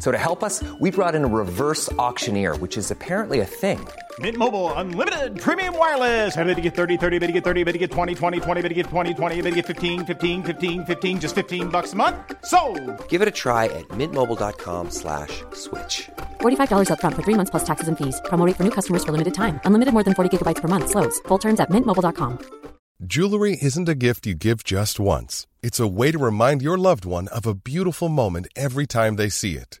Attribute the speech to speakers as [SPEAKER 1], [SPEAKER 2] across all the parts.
[SPEAKER 1] So to help us, we brought in a reverse auctioneer, which is apparently a thing.
[SPEAKER 2] Mint Mobile unlimited premium wireless. Ready to get 30, 30, bit to get 30, bit to get 20, 20, 20, bit to get 20, 20, bit to get 15, 15, 15, 15 just 15 bucks a month. So,
[SPEAKER 1] Give it a try at mintmobile.com slash switch.
[SPEAKER 3] $45 up front for three months plus taxes and fees. Promo rate for new customers for limited time. Unlimited more than 40 gigabytes per month. Slows. Full terms at mintmobile.com.
[SPEAKER 4] Jewelry isn't a gift you give just once. It's a way to remind your loved one of a beautiful moment every time they see it.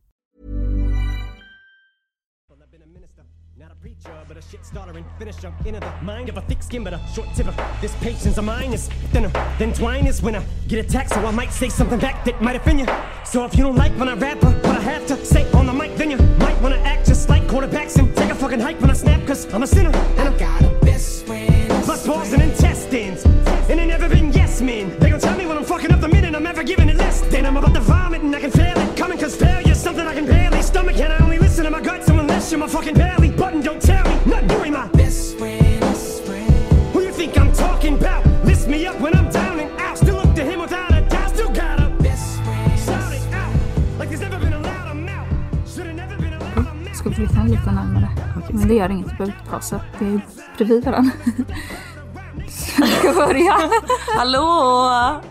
[SPEAKER 5] Well, I've been a minister, not a preacher, but a shit starter and finisher. In the mind of a thick skin, but a short tipper. This patience of mine is thinner than twine is when I get attacked. So I might say something back that might offend you. So if you don't like when I rap or what I have to say on the mic, then you might wanna act just like quarterbacks and take a fucking hike when I snap, cause I'm a sinner. And I've got a best friend. Plus balls and intestines. And they never been yes men. They gon' tell me when I'm fucking up the minute I'm ever giving it less. Then I'm about to vomit and I can feel it coming, cause failure's something I can barely stomach. And I only listen to my guts unless you're my fucking belly button. Don't tell me nothing. You ain't my best friend. Who you think I'm talking about? List me up when I'm down and out. Still look to him without a doubt. Still got a best friend. Shout it out like there's never been a louder mouth. Should've never been a louder mouth.
[SPEAKER 6] Ska vi flytta den lite närmare? Men det gör inget, det behöver inte vara så. Det är bredvid varandra. Så vi ska börja.
[SPEAKER 7] Hallå!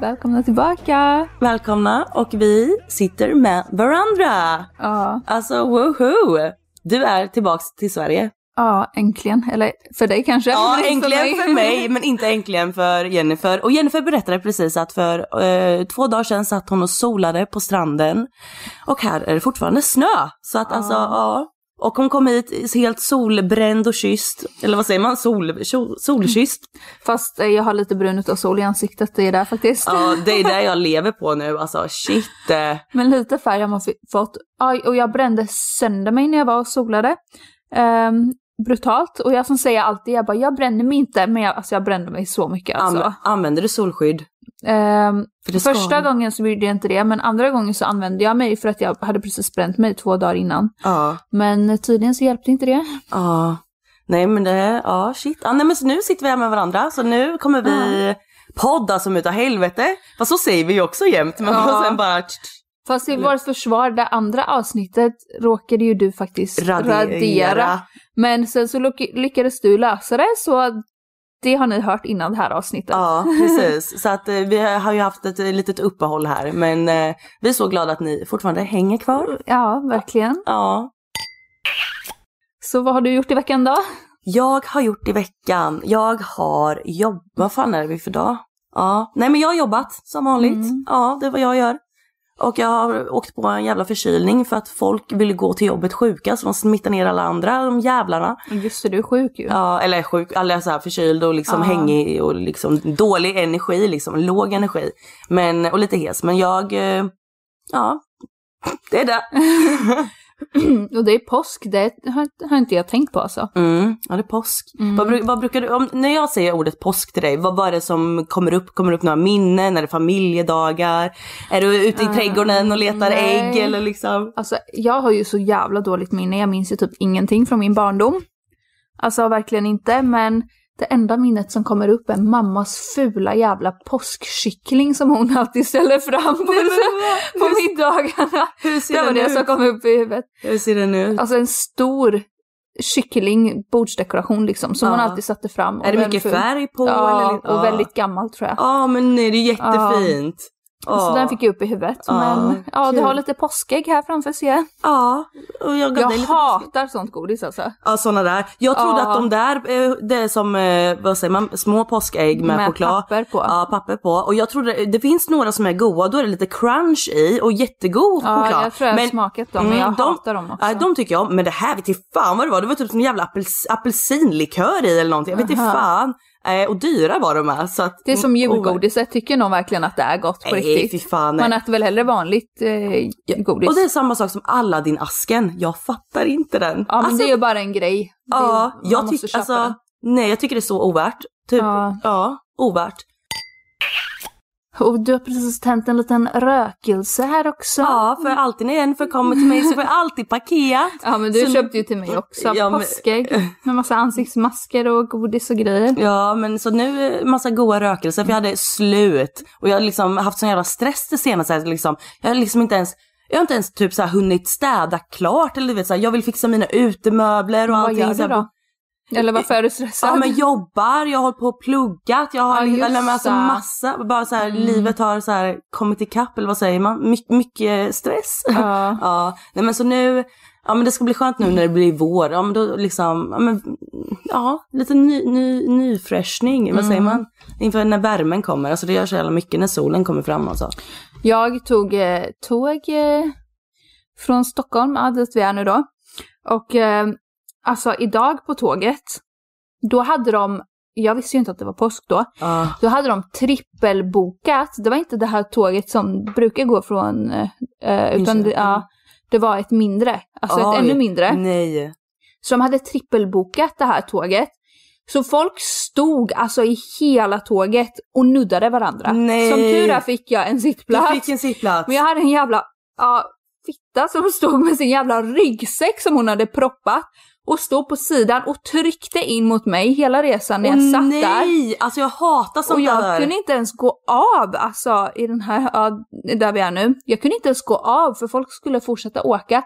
[SPEAKER 6] Välkomna tillbaka!
[SPEAKER 7] Välkomna och vi sitter med varandra.
[SPEAKER 6] Ja,
[SPEAKER 7] Alltså woho! Du är tillbaks till Sverige.
[SPEAKER 6] ja äntligen. Eller för dig kanske?
[SPEAKER 7] Ja,
[SPEAKER 6] men inte
[SPEAKER 7] äntligen för mig men inte äntligen för Jennifer. Och Jennifer berättade precis att för eh, två dagar sedan satt hon och solade på stranden. Och här är det fortfarande snö. Så att alltså, ja. Och hon kom hit helt solbränd och kysst. Eller vad säger man? Sol, sol, solkysst.
[SPEAKER 6] Fast eh, jag har lite brun utav sol i ansiktet, det är där faktiskt.
[SPEAKER 7] Ja, det är det jag lever på nu. Alltså shit. eh.
[SPEAKER 6] Men lite färg har man fi- fått. Aj, och jag brände sönder mig när jag var och solade. Ehm, brutalt. Och jag som säger alltid, jag bara, jag bränner mig inte. Men jag, alltså, jag brände mig så mycket alltså.
[SPEAKER 7] Anv- Använder du solskydd?
[SPEAKER 6] Ehm,
[SPEAKER 7] För det ska
[SPEAKER 6] första
[SPEAKER 7] man.
[SPEAKER 6] gången så gjorde jag inte det, men andra gången så använde jag mig för att jag hade precis bränt mig två dagar innan.
[SPEAKER 7] Ja.
[SPEAKER 6] Men tydligen så hjälpte inte det.
[SPEAKER 7] Ja. Nej men det, ja shit. Ja, nej, men så nu sitter vi här med varandra så nu kommer vi podda som utav helvete. Fast så säger vi ju också jämt men
[SPEAKER 6] Ja.
[SPEAKER 7] sen bara tsch, tsch,
[SPEAKER 6] Fast i vårt försvar, det andra avsnittet råkade ju du faktiskt radera.
[SPEAKER 7] radera.
[SPEAKER 6] Men sen så lyck- lyckades du lösa det, så det har ni hört innan det här avsnittet.
[SPEAKER 7] Ja precis. Så att eh, vi har ju haft ett eh, litet uppehåll här men eh, vi är så glada att ni fortfarande hänger kvar.
[SPEAKER 6] Ja, verkligen.
[SPEAKER 7] Ja.
[SPEAKER 6] Så vad har du gjort i veckan då?
[SPEAKER 7] Jag har gjort i veckan, jag har jobbat, vad fan är det för dag? Ja, nej men jag har jobbat som vanligt.
[SPEAKER 6] Mm.
[SPEAKER 7] Ja, det är vad jag gör. Och jag har åkt på en jävla förkylning för att folk ville gå till jobbet sjuka så de smittar ner alla andra, de jävlarna.
[SPEAKER 6] Just det, du är sjuk ju.
[SPEAKER 7] Ja, eller sjuk, eller så här förkyld och liksom
[SPEAKER 6] Ja.
[SPEAKER 7] hängig och liksom dålig energi, liksom låg energi. Men, och lite hes. Men jag, eh, ja, det är det.
[SPEAKER 6] Och det är påsk, det har, har inte jag tänkt på alltså.
[SPEAKER 7] Mm, ja det är påsk. Vad, bru- vad brukar du, om, när jag säger ordet påsk till dig, vad, vad är det som kommer upp? Kommer det upp några minnen? Är det familjedagar? Är du ute i
[SPEAKER 6] Ah,
[SPEAKER 7] trädgården och letar
[SPEAKER 6] nej.
[SPEAKER 7] ägg eller liksom?
[SPEAKER 6] Alltså jag har ju så jävla dåligt minne, jag minns ju typ ingenting från min barndom. Alltså verkligen inte, men det enda minnet som kommer upp är mammas fula jävla påskkyckling som hon alltid ställer fram på, på middagarna.
[SPEAKER 7] Hur ser
[SPEAKER 6] Det var
[SPEAKER 7] den
[SPEAKER 6] det
[SPEAKER 7] ut?
[SPEAKER 6] som kom upp i huvudet.
[SPEAKER 7] Hur ser den ut?
[SPEAKER 6] Alltså en stor kyckling, bordsdekoration liksom, som
[SPEAKER 7] Ja.
[SPEAKER 6] hon alltid satte fram. Och
[SPEAKER 7] är det
[SPEAKER 6] den
[SPEAKER 7] mycket
[SPEAKER 6] ful-
[SPEAKER 7] färg på?
[SPEAKER 6] Ja,
[SPEAKER 7] eller,
[SPEAKER 6] och väldigt gammal tror jag.
[SPEAKER 7] Ja, men nej, det är jättefint.
[SPEAKER 6] Så
[SPEAKER 7] Ja.
[SPEAKER 6] den fick jag upp i huvudet.
[SPEAKER 7] Ja,
[SPEAKER 6] men ja, du
[SPEAKER 7] kul.
[SPEAKER 6] har lite påskägg här framför ser jag.
[SPEAKER 7] Ja, och jag gav
[SPEAKER 6] Jag
[SPEAKER 7] dig lite
[SPEAKER 6] hatar sånt godis alltså.
[SPEAKER 7] Ja sådana där. Jag trodde
[SPEAKER 6] Ja.
[SPEAKER 7] att de där, eh, det är som, eh, vad säger man, små påskägg med,
[SPEAKER 6] Med
[SPEAKER 7] choklad.
[SPEAKER 6] papper på.
[SPEAKER 7] Ja papper på. Och jag trodde, det finns några som är goda, då är det lite crunch i och jättegod
[SPEAKER 6] Ja,
[SPEAKER 7] choklad.
[SPEAKER 6] jag tror jag har smakat dem, men jag hatar dem också.
[SPEAKER 7] Nej de tycker jag om, men det här vet inte fan vad det var. Det var typ som jävla apels, apelsinlikör i eller någonting. Jag vet inte
[SPEAKER 6] Aha.
[SPEAKER 7] fan. Eh, och dyra var de här. Så att,
[SPEAKER 6] Det är som
[SPEAKER 7] Mm,
[SPEAKER 6] julgodiset, tycker någon verkligen att det är gott på
[SPEAKER 7] Nej,
[SPEAKER 6] riktigt?
[SPEAKER 7] fy fan, nej.
[SPEAKER 6] Man äter väl hellre vanligt eh, godis?
[SPEAKER 7] Och det är samma sak som Aladdin-asken. Jag fattar inte den.
[SPEAKER 6] Ja, men
[SPEAKER 7] Alltså,
[SPEAKER 6] det är ju bara en grej. Det är-
[SPEAKER 7] Ja,
[SPEAKER 6] man
[SPEAKER 7] jag
[SPEAKER 6] måste
[SPEAKER 7] tycker
[SPEAKER 6] köpa
[SPEAKER 7] alltså,
[SPEAKER 6] den.
[SPEAKER 7] nej jag tycker det är så ovärt. Typ,
[SPEAKER 6] Ja.
[SPEAKER 7] ja, ovärt.
[SPEAKER 6] Och du har precis tänt en liten rökelse här också.
[SPEAKER 7] Ja, för alltid när en förkommer till mig så får jag alltid paket.
[SPEAKER 6] Ja, men du
[SPEAKER 7] Så-
[SPEAKER 6] köpte ju till mig också
[SPEAKER 7] Ja, men-
[SPEAKER 6] påskägg med massa ansiktsmasker och godis och grejer.
[SPEAKER 7] Ja, men så nu eh, massa goda rökelser för jag hade slut. Och jag har liksom haft sån jävla stress det senaste. här, Liksom. Jag har liksom inte ens jag har inte ens typ så här hunnit städa klart eller du vet så här, jag vill fixa mina utemöbler och
[SPEAKER 6] Vad
[SPEAKER 7] allting.
[SPEAKER 6] gör
[SPEAKER 7] så
[SPEAKER 6] du
[SPEAKER 7] här,
[SPEAKER 6] då? Eller varför är du stressad?
[SPEAKER 7] Ja men jobbar, jag har hållit på och pluggat, jag har
[SPEAKER 6] Alltså- Ja, just
[SPEAKER 7] eller, men alltså
[SPEAKER 6] det. Mm.
[SPEAKER 7] massa, bara så här, livet har så här kommit ikapp eller vad säger man, My, mycket stress.
[SPEAKER 6] Ja.
[SPEAKER 7] ja. Nej men så nu, ja men det ska bli skönt nu när det blir vår, ja men då liksom, ja men, ja lite ny, ny, nyfräschning, vad säger
[SPEAKER 6] Mm.
[SPEAKER 7] man? Inför när värmen kommer, alltså det gör så jävla mycket när solen kommer fram alltså.
[SPEAKER 6] Jag tog eh, tåg eh, från Stockholm, ja, dit vi är nu då. Och eh, alltså idag på tåget, då hade de, jag visste ju inte att det var påsk då,
[SPEAKER 7] Ja.
[SPEAKER 6] då hade de trippelbokat. Det var inte det här tåget som brukar gå från, eh, utan det,
[SPEAKER 7] Linköping.
[SPEAKER 6] ja, det var ett mindre, alltså ett
[SPEAKER 7] Oj. Mm.
[SPEAKER 6] ännu mindre.
[SPEAKER 7] Nej.
[SPEAKER 6] Så de hade trippelbokat det här tåget. Så folk stod alltså i hela tåget och nuddade varandra.
[SPEAKER 7] Nej.
[SPEAKER 6] Som tur är fick jag en sittplats.
[SPEAKER 7] Du fick en sittplats.
[SPEAKER 6] Men jag hade en jävla ja, fitta som stod med sin jävla ryggsäck som hon hade proppat och stod på sidan och tryckte in mot mig hela resan när jag
[SPEAKER 7] Åh,
[SPEAKER 6] satt
[SPEAKER 7] nej.
[SPEAKER 6] där.
[SPEAKER 7] alltså jag hatar sånt
[SPEAKER 6] Och jag
[SPEAKER 7] där.
[SPEAKER 6] kunde inte ens gå av, alltså i den här, ja, där vi är nu. Jag kunde inte ens gå av för folk skulle fortsätta åka.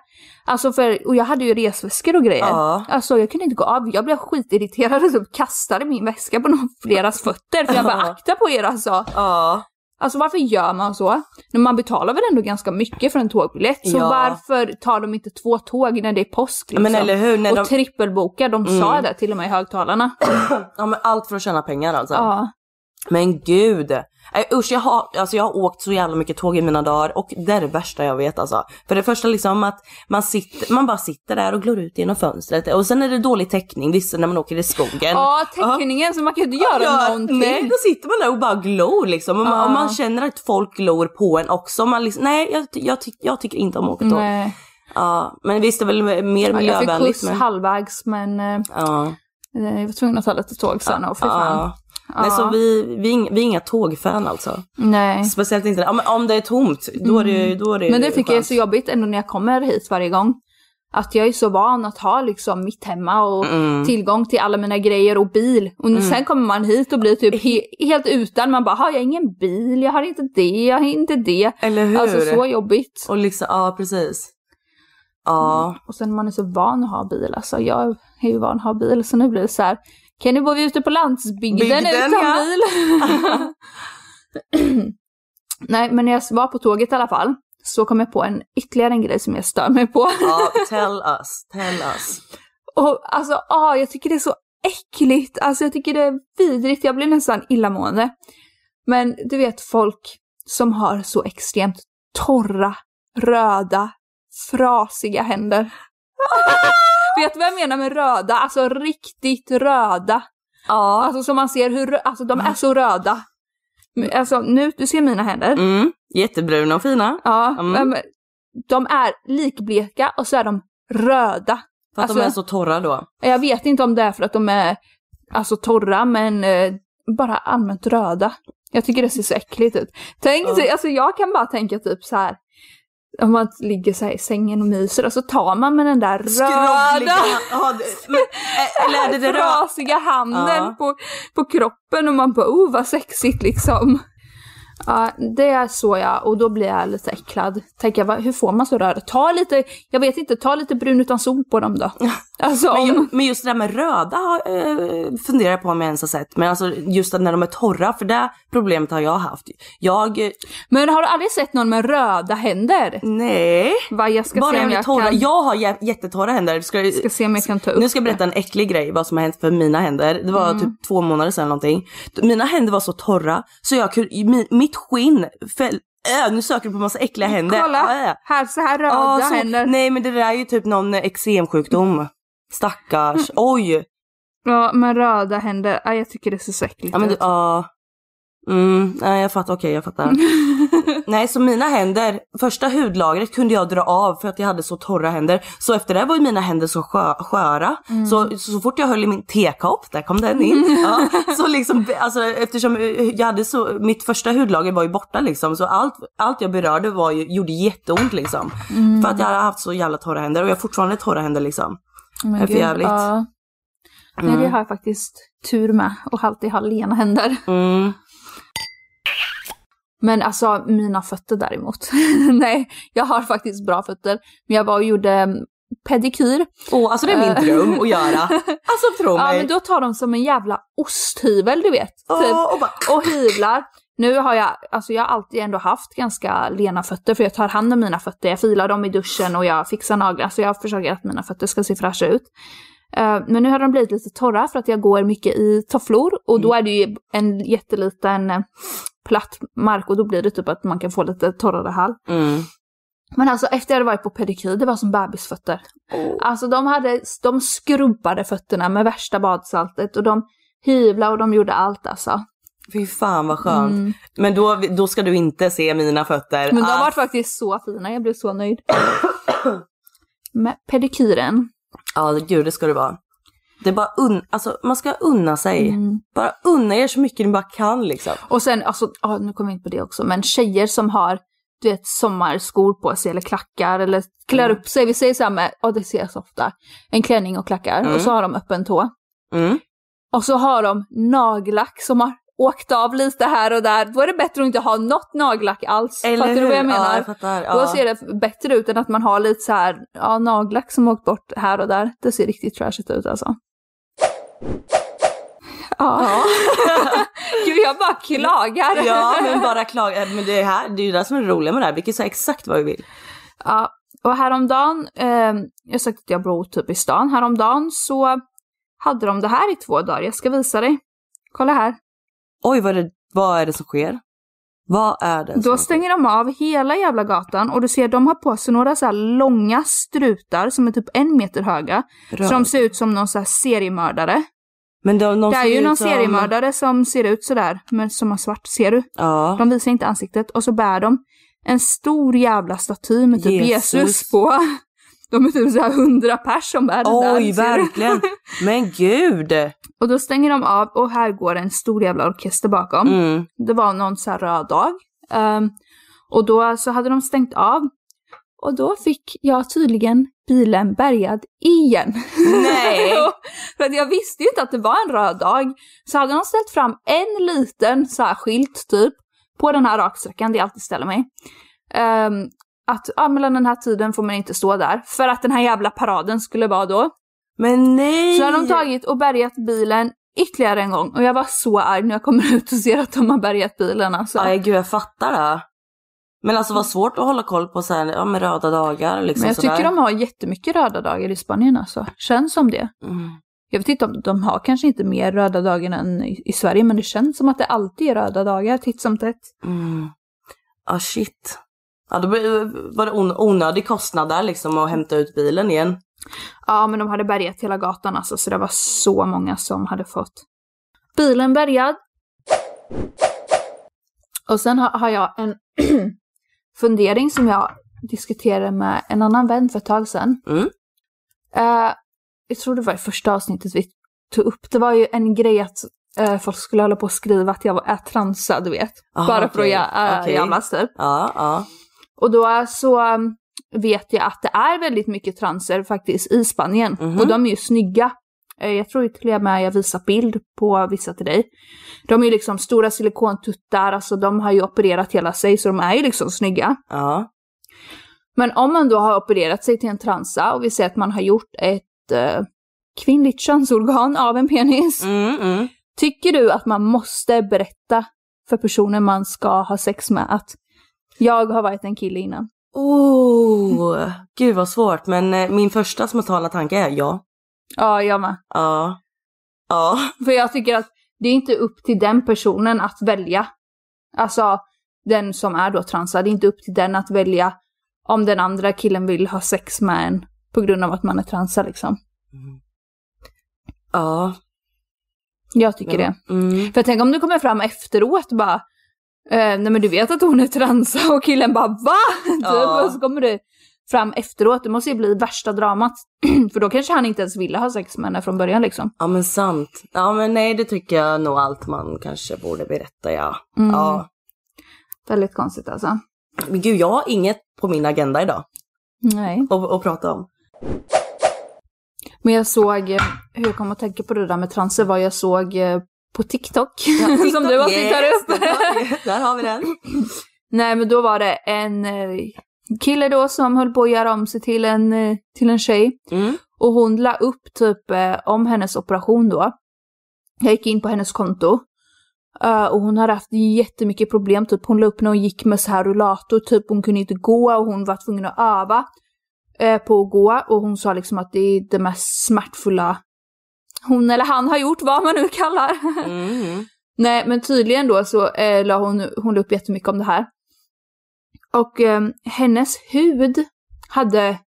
[SPEAKER 6] Alltså för, och jag hade ju resväskor och grejer.
[SPEAKER 7] Ja.
[SPEAKER 6] Alltså jag kunde inte gå av, jag blev skitirriterad och typ kastade min väska på någon deras fötter. För jag bara
[SPEAKER 7] Ja.
[SPEAKER 6] akta på er alltså.
[SPEAKER 7] Ja.
[SPEAKER 6] Alltså varför gör man så? Men man betalar väl ändå ganska mycket för en tågbiljett, så
[SPEAKER 7] Ja.
[SPEAKER 6] varför tar de inte två tåg när det är påsk liksom?
[SPEAKER 7] Men eller hur, när
[SPEAKER 6] och
[SPEAKER 7] de-
[SPEAKER 6] trippelbokar, de sa det till och med i högtalarna.
[SPEAKER 7] Ja men allt för att tjäna pengar alltså.
[SPEAKER 6] ja.
[SPEAKER 7] Men gud! Nej usch, jag har, alltså jag har åkt så jävla mycket tåg i mina dagar och det är det värsta jag vet alltså. För det första liksom att man, sitter, man bara sitter där och glor ut genom fönstret och sen är det dålig täckning vissa när man åker i skogen.
[SPEAKER 6] ja, teckningen, så man kan ju inte göra
[SPEAKER 7] Ja,
[SPEAKER 6] någonting.
[SPEAKER 7] Nej, då sitter man där och bara glor liksom. Och man,
[SPEAKER 6] Ja.
[SPEAKER 7] och man känner att folk glor på en också. Man liksom, nej, jag, ty- jag, tyck- jag tycker inte om att åka tåg.
[SPEAKER 6] Nej.
[SPEAKER 7] Ja, men visst det är väl mer
[SPEAKER 6] Ja, jag fick
[SPEAKER 7] miljövänligt.
[SPEAKER 6] skjuts
[SPEAKER 7] Men,
[SPEAKER 6] halvvägs men eh,
[SPEAKER 7] ja.
[SPEAKER 6] jag var tvungen att ta lite tåg sen och fy fan.
[SPEAKER 7] Ja. Nej, så vi, vi, är ing- vi är inga tågfan alltså.
[SPEAKER 6] Nej.
[SPEAKER 7] Speciellt inte, om, om det är tomt, då är det, då är det
[SPEAKER 6] Mm. Men det tycker jag är
[SPEAKER 7] skönt.
[SPEAKER 6] så jobbigt ändå när jag kommer hit varje gång. Att jag är så van att ha liksom mitt hemma och
[SPEAKER 7] Mm.
[SPEAKER 6] tillgång till alla mina grejer och bil. Och nu, sen kommer man hit och blir typ he- helt utan. Man bara, "Ha, jag har ingen bil, jag har inte det, jag har inte det.
[SPEAKER 7] Eller hur?
[SPEAKER 6] Alltså så jobbigt.
[SPEAKER 7] Och liksom, ja precis. Ja,
[SPEAKER 6] Och sen man är så van att ha bil. Alltså jag är ju van att ha bil så nu blir det så här. Kan du bo ute på landsbygden
[SPEAKER 7] Bygden,
[SPEAKER 6] utan
[SPEAKER 7] ja.
[SPEAKER 6] bil? Nej, men när jag var på tåget i alla fall så kom jag på en ytterligare en grej som jag stör mig på.
[SPEAKER 7] ja tell us, tell us.
[SPEAKER 6] Och alltså, ah, jag tycker det är så äckligt. Alltså jag tycker det är vidrigt. Jag blir nästan illamående. Men du vet folk som har så extremt torra, röda, frasiga händer. vet du vad jag menar med röda? Alltså riktigt röda.
[SPEAKER 7] Ja.
[SPEAKER 6] Alltså som man ser hur, rö- alltså de är så röda. Men, Alltså nu, du ser mina händer.
[SPEAKER 7] Mm, jättebruna och fina.
[SPEAKER 6] Ja,
[SPEAKER 7] Mm.
[SPEAKER 6] men de är likbleka och så är de röda.
[SPEAKER 7] För att de
[SPEAKER 6] Alltså-
[SPEAKER 7] är så torra då.
[SPEAKER 6] Jag vet inte om det är för att de är alltså torra, men eh, bara allmänt röda. Jag tycker det ser så äckligt ut. Tänk dig, alltså jag kan bara tänka typ så här. Om man ligger så här i sängen och myser och så tar man med den där röda,
[SPEAKER 7] Ja, det- men, eh, eller är det det röda?
[SPEAKER 6] frasiga handen
[SPEAKER 7] Ja.
[SPEAKER 6] på, på kroppen och man bara oh vad sexigt liksom. Ja, det är så jag, och då blir jag lite äcklad. Tänker jag, "Va, hur får man så röda? Ta lite, jag vet inte, ta lite brun utan sol på dem då. Alltså
[SPEAKER 7] Men,
[SPEAKER 6] om...
[SPEAKER 7] ju, men just det där med röda eh, funderar jag på om jag ens har sett. Men alltså just att när de är torra, för det problemet har jag haft. Jag, eh,
[SPEAKER 6] Men har du aldrig sett någon med röda händer?
[SPEAKER 7] nej.
[SPEAKER 6] Vad jag ska
[SPEAKER 7] Bara
[SPEAKER 6] se om
[SPEAKER 7] jag blir
[SPEAKER 6] jag
[SPEAKER 7] torra.
[SPEAKER 6] kan...
[SPEAKER 7] Jag har jä- jättetorra händer. Ska,
[SPEAKER 6] Ska se om jag kan ta upp Mm.
[SPEAKER 7] nu ska jag berätta en äcklig grej vad som har hänt för mina händer. Det var typ två månader sedan eller någonting. Mina händer var så torra så jag kunde, mi, mitt skinn föll. Äh, nu söker du på massa äckliga händer.
[SPEAKER 6] Mm, Kolla!
[SPEAKER 7] Äh.
[SPEAKER 6] Här, så här röda
[SPEAKER 7] Ja, så,
[SPEAKER 6] händer.
[SPEAKER 7] nej men det där är ju typ någon eh, eksemsjukdom. Stackars.
[SPEAKER 6] Mm.
[SPEAKER 7] Oj.
[SPEAKER 6] Ja, men röda händer. Ah, jag tycker det ser så äckligt
[SPEAKER 7] Ja men du,
[SPEAKER 6] ut.
[SPEAKER 7] ja. Mm, nej jag fattar, okej jag fattar. nej så mina händer, första hudlagret kunde jag dra av för att jag hade så torra händer. Så efter det var ju mina händer så skö, sköra.
[SPEAKER 6] Mm.
[SPEAKER 7] Så, så fort jag höll i min tekopp, där kom den in. Ja, så liksom, alltså, eftersom jag hade så, mitt första hudlager var ju borta liksom. Så allt, allt jag berörde var ju, gjorde jätteont liksom.
[SPEAKER 6] Mm.
[SPEAKER 7] För att jag hade haft så jävla torra händer och jag har fortfarande torra händer liksom.
[SPEAKER 6] men
[SPEAKER 7] är för
[SPEAKER 6] gud,
[SPEAKER 7] jävligt.
[SPEAKER 6] ja. Nej, det har jag faktiskt tur med och alltid har lena händer.
[SPEAKER 7] Mm.
[SPEAKER 6] Men alltså mina fötter däremot. Nej, jag har faktiskt bra fötter. Men jag var och gjorde mm, pedikyr.
[SPEAKER 7] Åh, alltså det är min dröm att göra. Alltså tro
[SPEAKER 6] Eh. Ja,
[SPEAKER 7] mig.
[SPEAKER 6] men då tar de som en jävla osthyvel, du vet.
[SPEAKER 7] Åh,
[SPEAKER 6] Typ.
[SPEAKER 7] och bara...
[SPEAKER 6] och hyvlar. Nu har jag, alltså jag har alltid ändå haft ganska lena fötter för jag tar hand om mina fötter. Jag filar dem i duschen och jag fixar naglar. Så jag försöker att mina fötter ska se fräscha ut. Eh, Men nu har de blivit lite torra för att jag går mycket i tofflor och då är det ju en jätteliten eh, platt mark och då blir det typ att man kan få lite torrare hall.
[SPEAKER 7] Mm.
[SPEAKER 6] Men alltså efter jag hade varit på pedikyr, det var som bebisfötter. Alltså de, hade, de skrubbade fötterna med värsta badsaltet och de hyvlade och de gjorde allt alltså.
[SPEAKER 7] Fy fan vad skönt. Men då, då ska du inte se mina fötter.
[SPEAKER 6] Mm. Men de har
[SPEAKER 7] Ah,
[SPEAKER 6] varit faktiskt så fina, jag blev så nöjd. Med pedikyren.
[SPEAKER 7] Ja, gud det ska det vara. Det är bara un... alltså, man ska unna sig.
[SPEAKER 6] Mm.
[SPEAKER 7] Bara unna er så mycket ni bara kan liksom.
[SPEAKER 6] Och sen, alltså, ja, nu kommer vi in på det också, men tjejer som har du vet, sommarskor på sig eller klackar eller klär
[SPEAKER 7] Mm.
[SPEAKER 6] upp sig. Vi säger så här med, ja det ser jag så ofta, en klänning och klackar och så har de öppen tå.
[SPEAKER 7] Mm.
[SPEAKER 6] Och så har de nagellack som har åkt av lite här och där. Då är det bättre att inte ha något nagellack alls. fattar du vad jag menar?
[SPEAKER 7] Ja, jag fattar.
[SPEAKER 6] Då
[SPEAKER 7] Ja.
[SPEAKER 6] ser det bättre ut än att man har lite så här, ja, nagellack som åkt bort här och där. Det ser riktigt trashigt ut alltså. Ja. Gud, jag bara klagar.
[SPEAKER 7] Ja, men bara klaga. Men det, är här, det är ju det som är det roliga med det här. Vi kan ju säga exakt vad vi vill.
[SPEAKER 6] Ja, och häromdagen, eh, jag sa att jag bor typ i stan, häromdagen så hade de det här i två dagar. Jag ska visa dig. Kolla här.
[SPEAKER 7] Oj, vad är det, vad är det som sker? Vad är det
[SPEAKER 6] Då
[SPEAKER 7] som
[SPEAKER 6] stänger de av hela jävla gatan och du ser de har på sig några så här långa strutar som är typ en meter höga.
[SPEAKER 7] sker?
[SPEAKER 6] Så de ser ut som någon så här seriemördare.
[SPEAKER 7] Men de, de
[SPEAKER 6] det är
[SPEAKER 7] ser
[SPEAKER 6] ju
[SPEAKER 7] ut
[SPEAKER 6] någon
[SPEAKER 7] som-
[SPEAKER 6] seriemördare som ser ut sådär, men som har svart. Ser du?
[SPEAKER 7] Ja.
[SPEAKER 6] De visar inte ansiktet. Och så bär de en stor jävla staty med typ Jesus,
[SPEAKER 7] Jesus
[SPEAKER 6] på. De är typ såhär hundra pers som bär den där.
[SPEAKER 7] Oj,
[SPEAKER 6] ser du?
[SPEAKER 7] verkligen. Men gud.
[SPEAKER 6] Och då stänger de av och här går en stor jävla orkester bakom.
[SPEAKER 7] Mm.
[SPEAKER 6] Det var någon så här röd dag. Ehm, och då så hade de stängt av. Och då fick jag tydligen bilen bärgad igen.
[SPEAKER 7] Nej.
[SPEAKER 6] Och- För att jag visste ju inte att det var en röd dag. Så hade de ställt fram en liten så här skylt typ på den här raksträckan, det jag alltid ställer mig. Ehm, att ja, mellan den här tiden får man inte stå där. För att den här jävla paraden skulle vara då.
[SPEAKER 7] Men nej!
[SPEAKER 6] Så har de tagit och bärgat bilen ytterligare en gång. Och jag var så arg när jag kommer ut och ser att de har bärgat bilen alltså.
[SPEAKER 7] Aj, gud jag fattar det. Men alltså vad svårt att hålla koll på så här, ja, med röda dagar
[SPEAKER 6] Mm.
[SPEAKER 7] liksom
[SPEAKER 6] Men jag
[SPEAKER 7] sådär.
[SPEAKER 6] tycker de har jättemycket röda dagar i Spanien alltså. Känns som det.
[SPEAKER 7] Mm.
[SPEAKER 6] Jag vet inte om de har kanske inte mer röda dagar än i, i Sverige, men det känns som att det alltid är röda dagar titt som tätt.
[SPEAKER 7] Mm. Ah shit. Ja, då blir- var det on- onödig kostnad där liksom att hämta ut bilen igen.
[SPEAKER 6] Ja, men de hade bärgat hela gatan alltså, så det var så många som hade fått bilen bärgad. Och sen har, har jag en fundering som jag diskuterade med en annan vän för ett tag sedan.
[SPEAKER 7] Mm.
[SPEAKER 6] Eh, jag tror det var i första avsnittet vi tog upp, det var ju en grej att eh, folk skulle hålla på och skriva att jag var, är transad, du vet.
[SPEAKER 7] Aha,
[SPEAKER 6] Bara för att
[SPEAKER 7] okej,
[SPEAKER 6] jag äh,
[SPEAKER 7] okej.
[SPEAKER 6] jävlas typ.
[SPEAKER 7] Ja, ja.
[SPEAKER 6] Och då så um, vet jag att det är väldigt mycket transer faktiskt i Spanien.
[SPEAKER 7] Mhm.
[SPEAKER 6] Och de är ju snygga. Eh, Jag tror till och med jag visar bild på vissa till dig. De är ju liksom stora silikontuttar, alltså de har ju opererat hela sig så de är ju liksom snygga.
[SPEAKER 7] ja.
[SPEAKER 6] Men om man då har opererat sig till en transa och vi säger att man har gjort ett eh, kvinnligt könsorgan av en penis.
[SPEAKER 7] Mm, mm.
[SPEAKER 6] Tycker du att man måste berätta för personen man ska ha sex med att jag har varit en kille innan?
[SPEAKER 7] Oh, gud vad svårt. Men eh, min första spontana tanke är ja.
[SPEAKER 6] Ja, jag med.
[SPEAKER 7] Ja. Ja.
[SPEAKER 6] För jag tycker att det är inte upp till den personen att välja. Alltså, den som är då transad, det är inte upp till den att välja om den andra killen vill ha sex med en på grund av att man är transad liksom.
[SPEAKER 7] Ja.
[SPEAKER 6] Jag tycker det.
[SPEAKER 7] Mm.
[SPEAKER 6] För tänk om du kommer fram efteråt bara eh, nej men du vet att hon är transa och killen bara va?
[SPEAKER 7] Ja.
[SPEAKER 6] Typ, och så kommer du fram efteråt, det måste ju bli värsta dramat. För då kanske han inte ens ville ha sex med henne från början liksom.
[SPEAKER 7] Ja men sant. Ja men nej det tycker jag nog allt man kanske borde berätta ja. Ja.
[SPEAKER 6] Mm. Väldigt konstigt alltså.
[SPEAKER 7] Men gud jag har inget på min agenda idag
[SPEAKER 6] Nej.
[SPEAKER 7] att, att prata om.
[SPEAKER 6] Men jag såg, eh, hur jag kom att tänka på det där med transer var jag såg eh, på TikTok, som du alltid tar upp.
[SPEAKER 7] Där har, där har vi den.
[SPEAKER 6] Nej men då var det en eh, kille då som höll på att göra om sig till en, eh, till en tjej.
[SPEAKER 7] Mm.
[SPEAKER 6] Och hon la upp typ eh, om hennes operation då. Jag gick in på hennes konto. Eh, och hon hade haft jättemycket problem, typ hon la upp när hon gick med så här rullator, typ hon kunde inte gå och hon var tvungen att öva eh, på att gå. Och hon sa liksom att det är det mest smärtfulla hon eller han har gjort, vad man nu kallar.
[SPEAKER 7] Mm.
[SPEAKER 6] Nej, men tydligen då så eh, la hon, hon la upp jättemycket om det här. Och eh, hennes hud hade...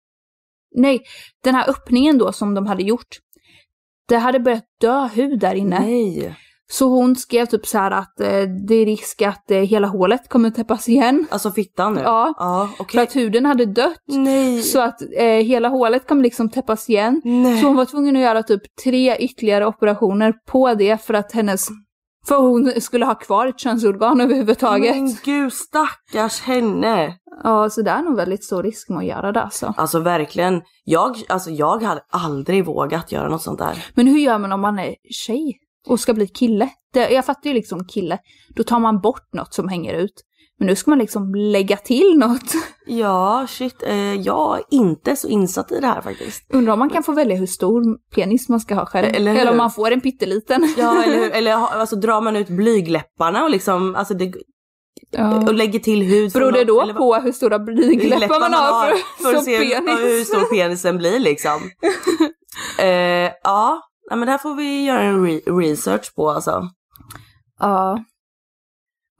[SPEAKER 6] Nej, den här öppningen då som de hade gjort. Det hade börjat dö hud där inne.
[SPEAKER 7] Nej.
[SPEAKER 6] Så hon skrev typ så här att eh, det är risk att eh, hela hålet kommer täppas igen.
[SPEAKER 7] Alltså fittan nu?
[SPEAKER 6] Ja.
[SPEAKER 7] Ja okej.
[SPEAKER 6] För att huden hade dött.
[SPEAKER 7] Nej.
[SPEAKER 6] Så att eh, hela hålet kommer liksom täppas igen.
[SPEAKER 7] Nej.
[SPEAKER 6] Så hon var tvungen att göra typ tre ytterligare operationer på det för att hennes... För hon skulle ha kvar ett könsorgan överhuvudtaget.
[SPEAKER 7] Men gud stackars henne.
[SPEAKER 6] Ja, så det är nog väldigt stor risk med att göra det alltså.
[SPEAKER 7] Alltså verkligen. Jag, alltså, jag hade aldrig vågat göra något sånt där.
[SPEAKER 6] Men hur gör man om man är tjej och ska bli kille? Det, jag fattar ju liksom kille. Då tar man bort något som hänger ut. Men nu ska man liksom lägga till något.
[SPEAKER 7] Ja shit, eh, jag är inte så insatt i det här faktiskt.
[SPEAKER 6] Undrar om man kan få välja hur stor penis man ska ha själv.
[SPEAKER 7] Eller
[SPEAKER 6] Eller,
[SPEAKER 7] hur?
[SPEAKER 6] om man får en pytteliten.
[SPEAKER 7] Ja eller hur, eller ha- alltså drar man ut blygläpparna och liksom, alltså det, och lägger till hud. från
[SPEAKER 6] Beror det
[SPEAKER 7] något-
[SPEAKER 6] då
[SPEAKER 7] eller vad-
[SPEAKER 6] på hur stora blygläppar man har för,
[SPEAKER 7] att
[SPEAKER 6] som
[SPEAKER 7] se
[SPEAKER 6] penis?
[SPEAKER 7] hur stor penisen blir liksom. eh, ja, Nej, men det här får vi göra en re- research på alltså.
[SPEAKER 6] Ja.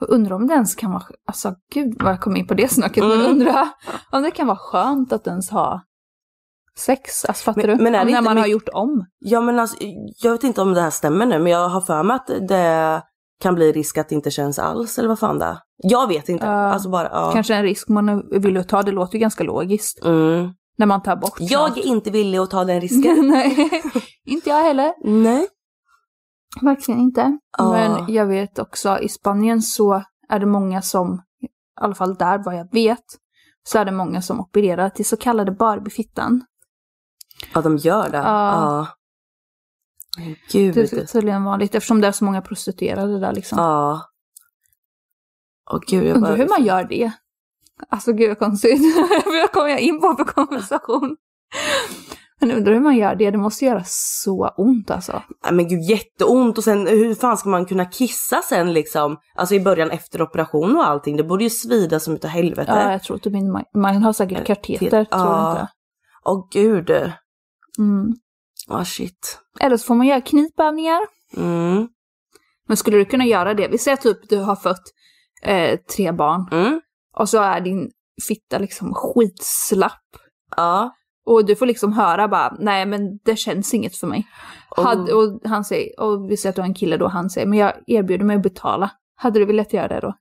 [SPEAKER 6] Och undrar om det ens kan vara, alltså gud vad jag kom in på det snacket, men
[SPEAKER 7] Mm.
[SPEAKER 6] undrar om det kan vara skönt att ens ha sex, alltså fattar
[SPEAKER 7] Men-
[SPEAKER 6] du?
[SPEAKER 7] men är det
[SPEAKER 6] Om när
[SPEAKER 7] inte
[SPEAKER 6] man har
[SPEAKER 7] mycket-
[SPEAKER 6] gjort om.
[SPEAKER 7] Ja men alltså, jag vet inte om det här stämmer nu men jag har för mig att det kan bli risk att det inte känns alls eller vad fan det är. Jag vet inte.
[SPEAKER 6] Ja.
[SPEAKER 7] alltså bara, ja.
[SPEAKER 6] Kanske en risk man vill ta, det låter ju ganska logiskt.
[SPEAKER 7] Mm.
[SPEAKER 6] När man tar bort
[SPEAKER 7] Jag är inte villig att ta den risken.
[SPEAKER 6] Nej, inte jag heller.
[SPEAKER 7] Nej.
[SPEAKER 6] Verkligen inte.
[SPEAKER 7] Ja.
[SPEAKER 6] Men jag vet också, i Spanien så är det många som, i alla fall där vad jag vet, så är det många som opererar till så kallade Barbiefittan.
[SPEAKER 7] Ja de gör det.
[SPEAKER 6] Ja.
[SPEAKER 7] Ja. Men Gud.
[SPEAKER 6] Det är tydligen vanligt eftersom det är så många prostituerade där liksom.
[SPEAKER 7] Ja. Åh gud jag
[SPEAKER 6] Undrar
[SPEAKER 7] Ah, bara...
[SPEAKER 6] hur man gör det. Alltså gud vad konstigt. Vad kommer jag in på för konversation? Men undrar hur man gör det. Det måste göra så ont alltså.
[SPEAKER 7] Nej, men gud jätteont och sen hur fan ska man kunna kissa sen liksom? Alltså i början efter operation och allting. Det borde ju svida som utav helvete.
[SPEAKER 6] Ja, jag tror typ inte man, man har säkert kateter.
[SPEAKER 7] Ja.
[SPEAKER 6] Tror jag inte.
[SPEAKER 7] Åh gud. Ja
[SPEAKER 6] Mm.
[SPEAKER 7] shit.
[SPEAKER 6] Eller så får man göra knipövningar.
[SPEAKER 7] Mm.
[SPEAKER 6] Men skulle du kunna göra det? Vi säger typ du har fött eh, tre barn
[SPEAKER 7] Mm.
[SPEAKER 6] och så är din fitta liksom skitslapp.
[SPEAKER 7] Ja.
[SPEAKER 6] Och du får liksom höra bara, nej men det känns inget för mig.
[SPEAKER 7] Oh.
[SPEAKER 6] Hade, och han säger, och vi säger att du har en kille då, han säger, men jag erbjuder mig att betala. Hade du velat göra det då?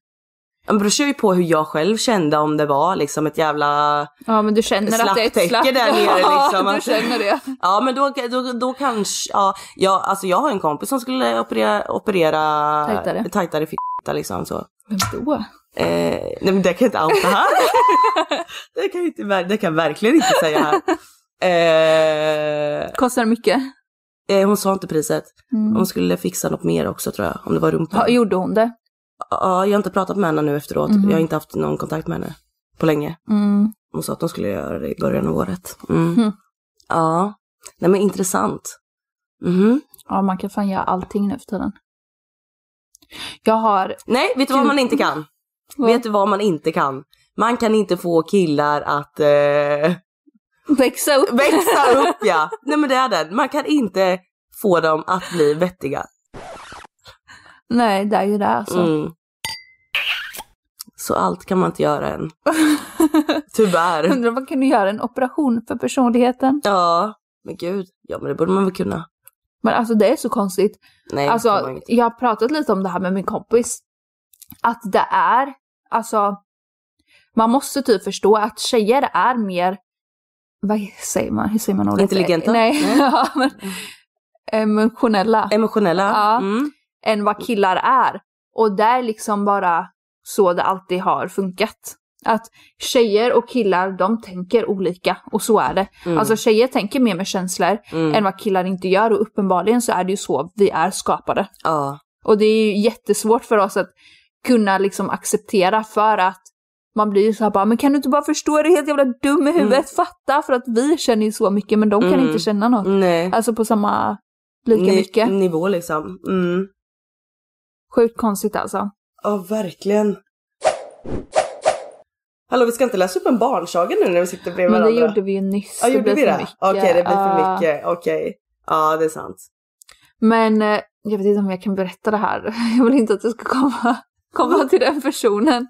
[SPEAKER 7] Men det beror ju på hur jag själv kände om det var liksom ett jävla...
[SPEAKER 6] Ja men du känner att det är
[SPEAKER 7] Slapptäcke
[SPEAKER 6] ett slapp.
[SPEAKER 7] där nere, liksom,
[SPEAKER 6] Ja, du
[SPEAKER 7] att-
[SPEAKER 6] känner det.
[SPEAKER 7] Ja men då, då, då kanske, ja, ja alltså jag har en kompis som skulle operera, operera
[SPEAKER 6] Tajtare.
[SPEAKER 7] tajtare fitta liksom så.
[SPEAKER 6] Vem då?
[SPEAKER 7] Eh, nej men det kan jag inte outa här. det, kan jag inte, ver- det kan jag verkligen inte säga här. Eh,
[SPEAKER 6] Kostar det mycket?
[SPEAKER 7] eh, hon sa inte priset.
[SPEAKER 6] Mm.
[SPEAKER 7] Hon skulle fixa något mer också tror jag, om det var rumpan.
[SPEAKER 6] Ha,
[SPEAKER 7] Ja,
[SPEAKER 6] gjorde hon det?
[SPEAKER 7] jag har inte pratat med henne nu efteråt.
[SPEAKER 6] Mhm.
[SPEAKER 7] Jag har inte haft någon kontakt med henne på länge.
[SPEAKER 6] Mm.
[SPEAKER 7] Hon sa att hon skulle göra det i början av året. Mm.
[SPEAKER 6] Mhm.
[SPEAKER 7] Ja. Nej men intressant. Mhm.
[SPEAKER 6] Ja, man kan fan göra allting nu för tiden. Jag har...
[SPEAKER 7] Nej, vet du vad man inte kan?
[SPEAKER 6] Vad?
[SPEAKER 7] Vet du vad man inte kan? Man kan inte få killar att eh,
[SPEAKER 6] Växa upp.
[SPEAKER 7] växa upp ja. Nej men det är den. Man kan inte få dem att bli vettiga.
[SPEAKER 6] Nej, det är ju det alltså.
[SPEAKER 7] Mm. Så allt kan man inte göra än. Tyvärr.
[SPEAKER 6] Undrar om man kunde göra en operation för personligheten.
[SPEAKER 7] Ja, men gud. Ja men det borde man väl kunna.
[SPEAKER 6] Men alltså det är så konstigt.
[SPEAKER 7] Nej, det kan man
[SPEAKER 6] Alltså,
[SPEAKER 7] inte.
[SPEAKER 6] jag har pratat lite om det här med min kompis. Att det är, alltså, man måste typ förstå att tjejer är mer, vad säger man, hur säger man ordet?
[SPEAKER 7] Intelligenta? Mm.
[SPEAKER 6] Nej, ja, men, emotionella
[SPEAKER 7] Emotionella.
[SPEAKER 6] Ja.
[SPEAKER 7] Mm.
[SPEAKER 6] än vad killar är. Och det är liksom bara så det alltid har funkat. Att tjejer och killar, de tänker olika och så är det. Alltså tjejer tänker mer med känslor än vad killar inte gör och uppenbarligen så är det ju så vi är skapade.
[SPEAKER 7] ja.
[SPEAKER 6] Och det är ju jättesvårt för oss att kunna liksom acceptera för att man blir ju så här bara, men kan du inte bara förstå, är du helt jävla dum i huvudet, fatta, för att vi känner ju så mycket men de kan inte känna något.
[SPEAKER 7] Nej.
[SPEAKER 6] Alltså på samma, lika
[SPEAKER 7] Ni-
[SPEAKER 6] mycket.
[SPEAKER 7] Nivå liksom. Mm.
[SPEAKER 6] Sjukt konstigt alltså.
[SPEAKER 7] Ja, verkligen. Hallå, vi ska inte läsa upp en barnsaga nu när vi sitter bredvid
[SPEAKER 6] Men det
[SPEAKER 7] varandra.
[SPEAKER 6] gjorde vi ju nyss.
[SPEAKER 7] Ja, gjorde
[SPEAKER 6] blir
[SPEAKER 7] vi
[SPEAKER 6] för
[SPEAKER 7] det?
[SPEAKER 6] mycket.
[SPEAKER 7] Okej, det blir för
[SPEAKER 6] Ja.
[SPEAKER 7] mycket. Okej. Ja, det är sant.
[SPEAKER 6] Men eh, jag vet inte om jag kan berätta det här. Jag vill inte att det ska komma, komma till den personen.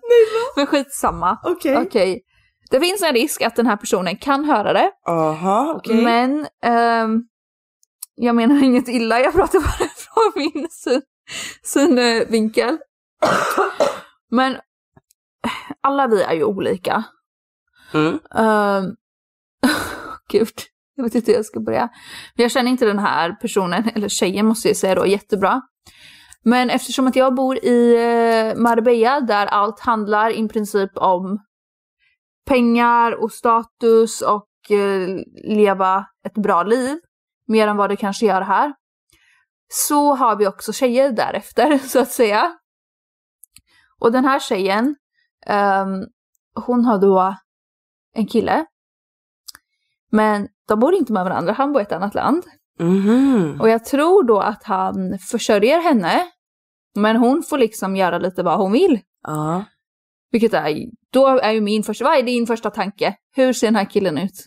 [SPEAKER 6] Men skitsamma.
[SPEAKER 7] Okej.
[SPEAKER 6] Det finns en risk att den här personen kan höra det.
[SPEAKER 7] Aha, okej.
[SPEAKER 6] Men ehm, jag menar inget illa, jag pratar bara från min syn, synvinkel. Men alla vi är ju olika.
[SPEAKER 7] Mm.
[SPEAKER 6] Ehm, Gud, jag vet inte hur jag ska börja. Men jag känner inte den här personen, eller tjejen måste jag säga då, jättebra. Men eftersom att jag bor i eh, Marbella där allt handlar i princip om pengar och status och eh, leva ett bra liv. Mer än vad det kanske gör här. Så har vi också tjejer därefter, så att säga. Och den här tjejen, ehm, hon har då en kille. Men de bor inte med varandra, han bor i ett annat land.
[SPEAKER 7] Mhm.
[SPEAKER 6] Och jag tror då att han försörjer henne. Men hon får liksom göra lite vad hon vill.
[SPEAKER 7] Ja.
[SPEAKER 6] Vilket är, då är ju min första, vad är din första tanke? Hur ser den här killen ut?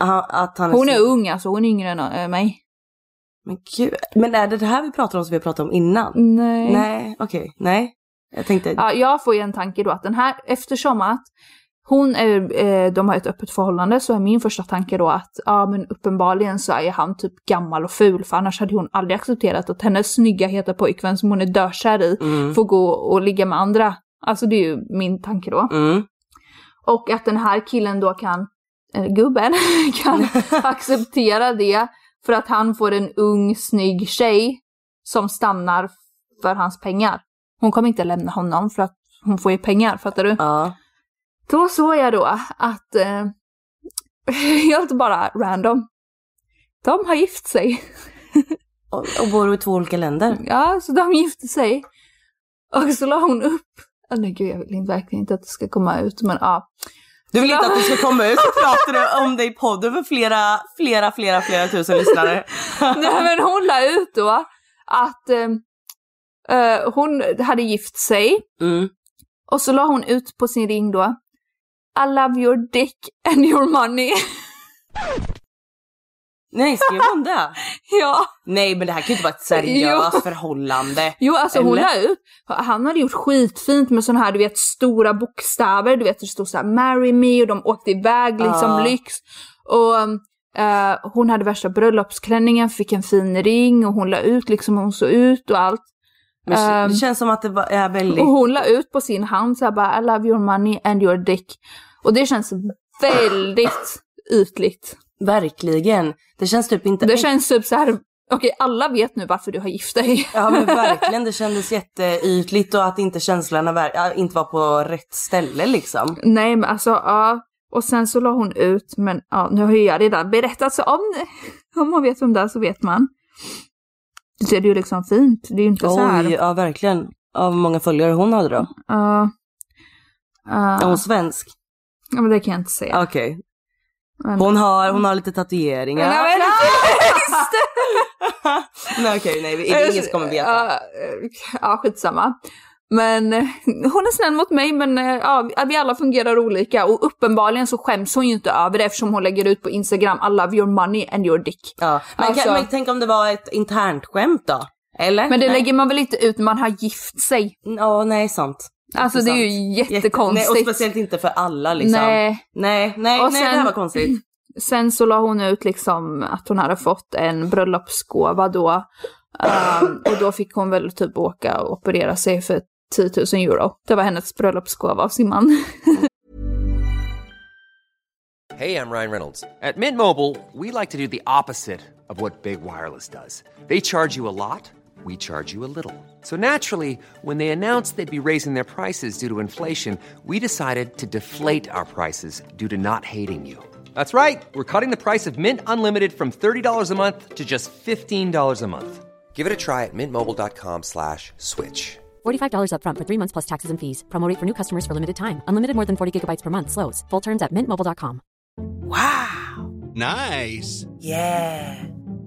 [SPEAKER 7] Aha, att han
[SPEAKER 6] Hon är
[SPEAKER 7] så-
[SPEAKER 6] ung alltså, hon är yngre än eh, mig.
[SPEAKER 7] Men gud. Men är det det här vi pratar om som vi har pratat om innan?
[SPEAKER 6] Nej.
[SPEAKER 7] Nej, okej. Nej. Jag tänkte...
[SPEAKER 6] Ja, jag får ju en tanke då att den här, eftersom att hon är, eh, de har ett öppet förhållande så är min första tanke då att ja men uppenbarligen så är ju han typ gammal och ful för annars hade hon aldrig accepterat att hennes snygga heta pojkvän som hon är dökär i får gå och ligga med andra. Alltså det är ju min tanke då.
[SPEAKER 7] Mm.
[SPEAKER 6] Och att den här killen då kan, eller gubben, kan acceptera det för att han får en ung snygg tjej som stannar för hans pengar. Hon kommer inte lämna honom för att hon får ju pengar, fattar du?
[SPEAKER 7] Ja.
[SPEAKER 6] Då såg jag då att, eh, helt bara random, de har gift sig.
[SPEAKER 7] Och, och bor i två olika länder.
[SPEAKER 6] Ja, så de gifte sig. Och så la hon upp, oh, nej gud jag vill inte- verkligen inte att det ska komma ut men ja.
[SPEAKER 7] Du vill inte att det ska komma ut så pratar du om det i podden för flera, flera, flera, flera tusen lyssnare.
[SPEAKER 6] Nej men hon la ut då att eh, eh, hon hade gift sig
[SPEAKER 7] Mm.
[SPEAKER 6] och så la hon ut på sin ring då I love your dick and your money.
[SPEAKER 7] Nej, skrev hon det?
[SPEAKER 6] ja,
[SPEAKER 7] Nej men det här kan ju inte vara ett seriöst
[SPEAKER 6] Jo.
[SPEAKER 7] förhållande.
[SPEAKER 6] jo alltså hon
[SPEAKER 7] Eller?
[SPEAKER 6] la ut, han hade gjort skitfint med sådana här du vet stora bokstäver, du vet det stod såhär marry me och de åkte iväg liksom
[SPEAKER 7] Ja.
[SPEAKER 6] lyx. Och eh, hon hade värsta bröllopsklänningen, fick en fin ring och hon la ut liksom hur hon såg ut och allt.
[SPEAKER 7] Men
[SPEAKER 6] Ehm.
[SPEAKER 7] det känns som att det var- är väldigt...
[SPEAKER 6] Och hon la ut på sin hand så här bara I love your money and your dick. Och det känns väldigt ytligt.
[SPEAKER 7] Verkligen. Det känns typ inte...
[SPEAKER 6] Det känns typ så här, okej alla vet nu varför du har gift dig.
[SPEAKER 7] Ja men verkligen, det kändes jätteytligt och att inte känslorna ver... ja, inte var på rätt ställe liksom.
[SPEAKER 6] Nej men alltså ja. Och sen så la hon ut, men ja nu har ju jag redan berättat så om, om man vet vem det är så vet man. Det är ju liksom fint, det är ju inte så här.
[SPEAKER 7] Oj, ja verkligen. Av många följare hon hade då.
[SPEAKER 6] Ja. Ja,
[SPEAKER 7] Är hon svensk?
[SPEAKER 6] ja, men det kan jag inte säga.
[SPEAKER 7] Okej. Hon har, hon har lite tatueringar.
[SPEAKER 6] Nej, men-
[SPEAKER 7] Nej okej, nej, det är ingen som kommer veta.
[SPEAKER 6] Ja, eh, Ja, skitsamma. Men eh, hon är snäll mot mig, men eh, ja, vi alla fungerar olika. Och uppenbarligen så skäms hon ju inte över det eftersom hon lägger ut på Instagram I love your money and your dick.
[SPEAKER 7] Ja. Men,
[SPEAKER 6] Alltså-
[SPEAKER 7] kan, men tänk om det var ett internt skämt då? Eller?
[SPEAKER 6] Men det
[SPEAKER 7] nej.
[SPEAKER 6] lägger man väl inte ut när man har gift sig?
[SPEAKER 7] Ja, nej sant.
[SPEAKER 6] Alltså det är ju
[SPEAKER 7] Sant. Jätte-
[SPEAKER 6] jättekonstigt.
[SPEAKER 7] Nej, och speciellt inte för alla liksom.
[SPEAKER 6] Nej.
[SPEAKER 7] Nej, nej,
[SPEAKER 6] Och
[SPEAKER 7] nej det
[SPEAKER 6] sen-
[SPEAKER 7] här var konstigt.
[SPEAKER 6] Sen så la hon ut liksom att hon hade fått en bröllopsgåva då. Ehm, och då fick hon väl typ åka och operera sig för 10 000 euro. Det var hennes bröllopsgåva av sin man.
[SPEAKER 1] Hey, I'm Ryan Reynolds. At Mint Mobile, we like to do the opposite of what Big Wireless does. They charge you a lot, we charge you a little. So naturally, when they announced they'd be raising their prices due to inflation, we decided to deflate our prices due to not hating you. That's right. We're cutting the price of Mint Unlimited from $30 a month to just $15 a month. Give it a try at mintmobile.com slash switch.
[SPEAKER 3] $45 upfront for three months plus taxes and fees. Promo rate for new customers for limited time. Unlimited more than 40 gigabytes per month. Slows. Full terms at mintmobile.com.
[SPEAKER 8] Nice.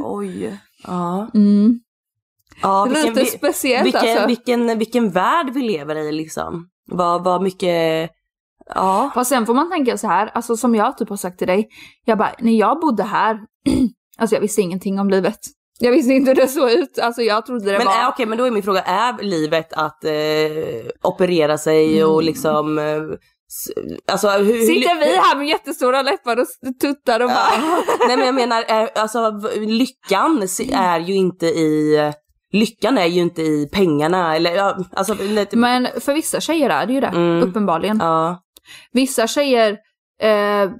[SPEAKER 7] Oj. Ja.
[SPEAKER 6] Mm.
[SPEAKER 7] ja
[SPEAKER 6] Lite
[SPEAKER 7] vi-
[SPEAKER 6] speciellt,
[SPEAKER 7] vilken,
[SPEAKER 6] alltså.
[SPEAKER 7] Vilken, vilken värld vi lever i liksom. Vad, vad mycket, ja.
[SPEAKER 6] Fast sen får man tänka så här, alltså som jag typ har sagt till dig. Jag bara, när jag bodde här, alltså jag visste ingenting om livet. Jag visste inte hur det såg ut, alltså jag trodde det
[SPEAKER 7] Men
[SPEAKER 6] var...
[SPEAKER 7] är, okej, men då är min fråga, är livet att eh, operera sig och liksom, eh, s- alltså hur... hur-
[SPEAKER 6] Mm. Sitter vi här med jättestora läppar och s- tuttar och bara...
[SPEAKER 7] Ja. Nej men jag menar, eh, alltså v- lyckan se- är ju inte i, lyckan är ju inte i pengarna eller ja, alltså, nej, typ,
[SPEAKER 6] Men för vissa tjejer är det ju det,
[SPEAKER 7] Mm.
[SPEAKER 6] uppenbarligen.
[SPEAKER 7] ja.
[SPEAKER 6] Vissa tjejer eh,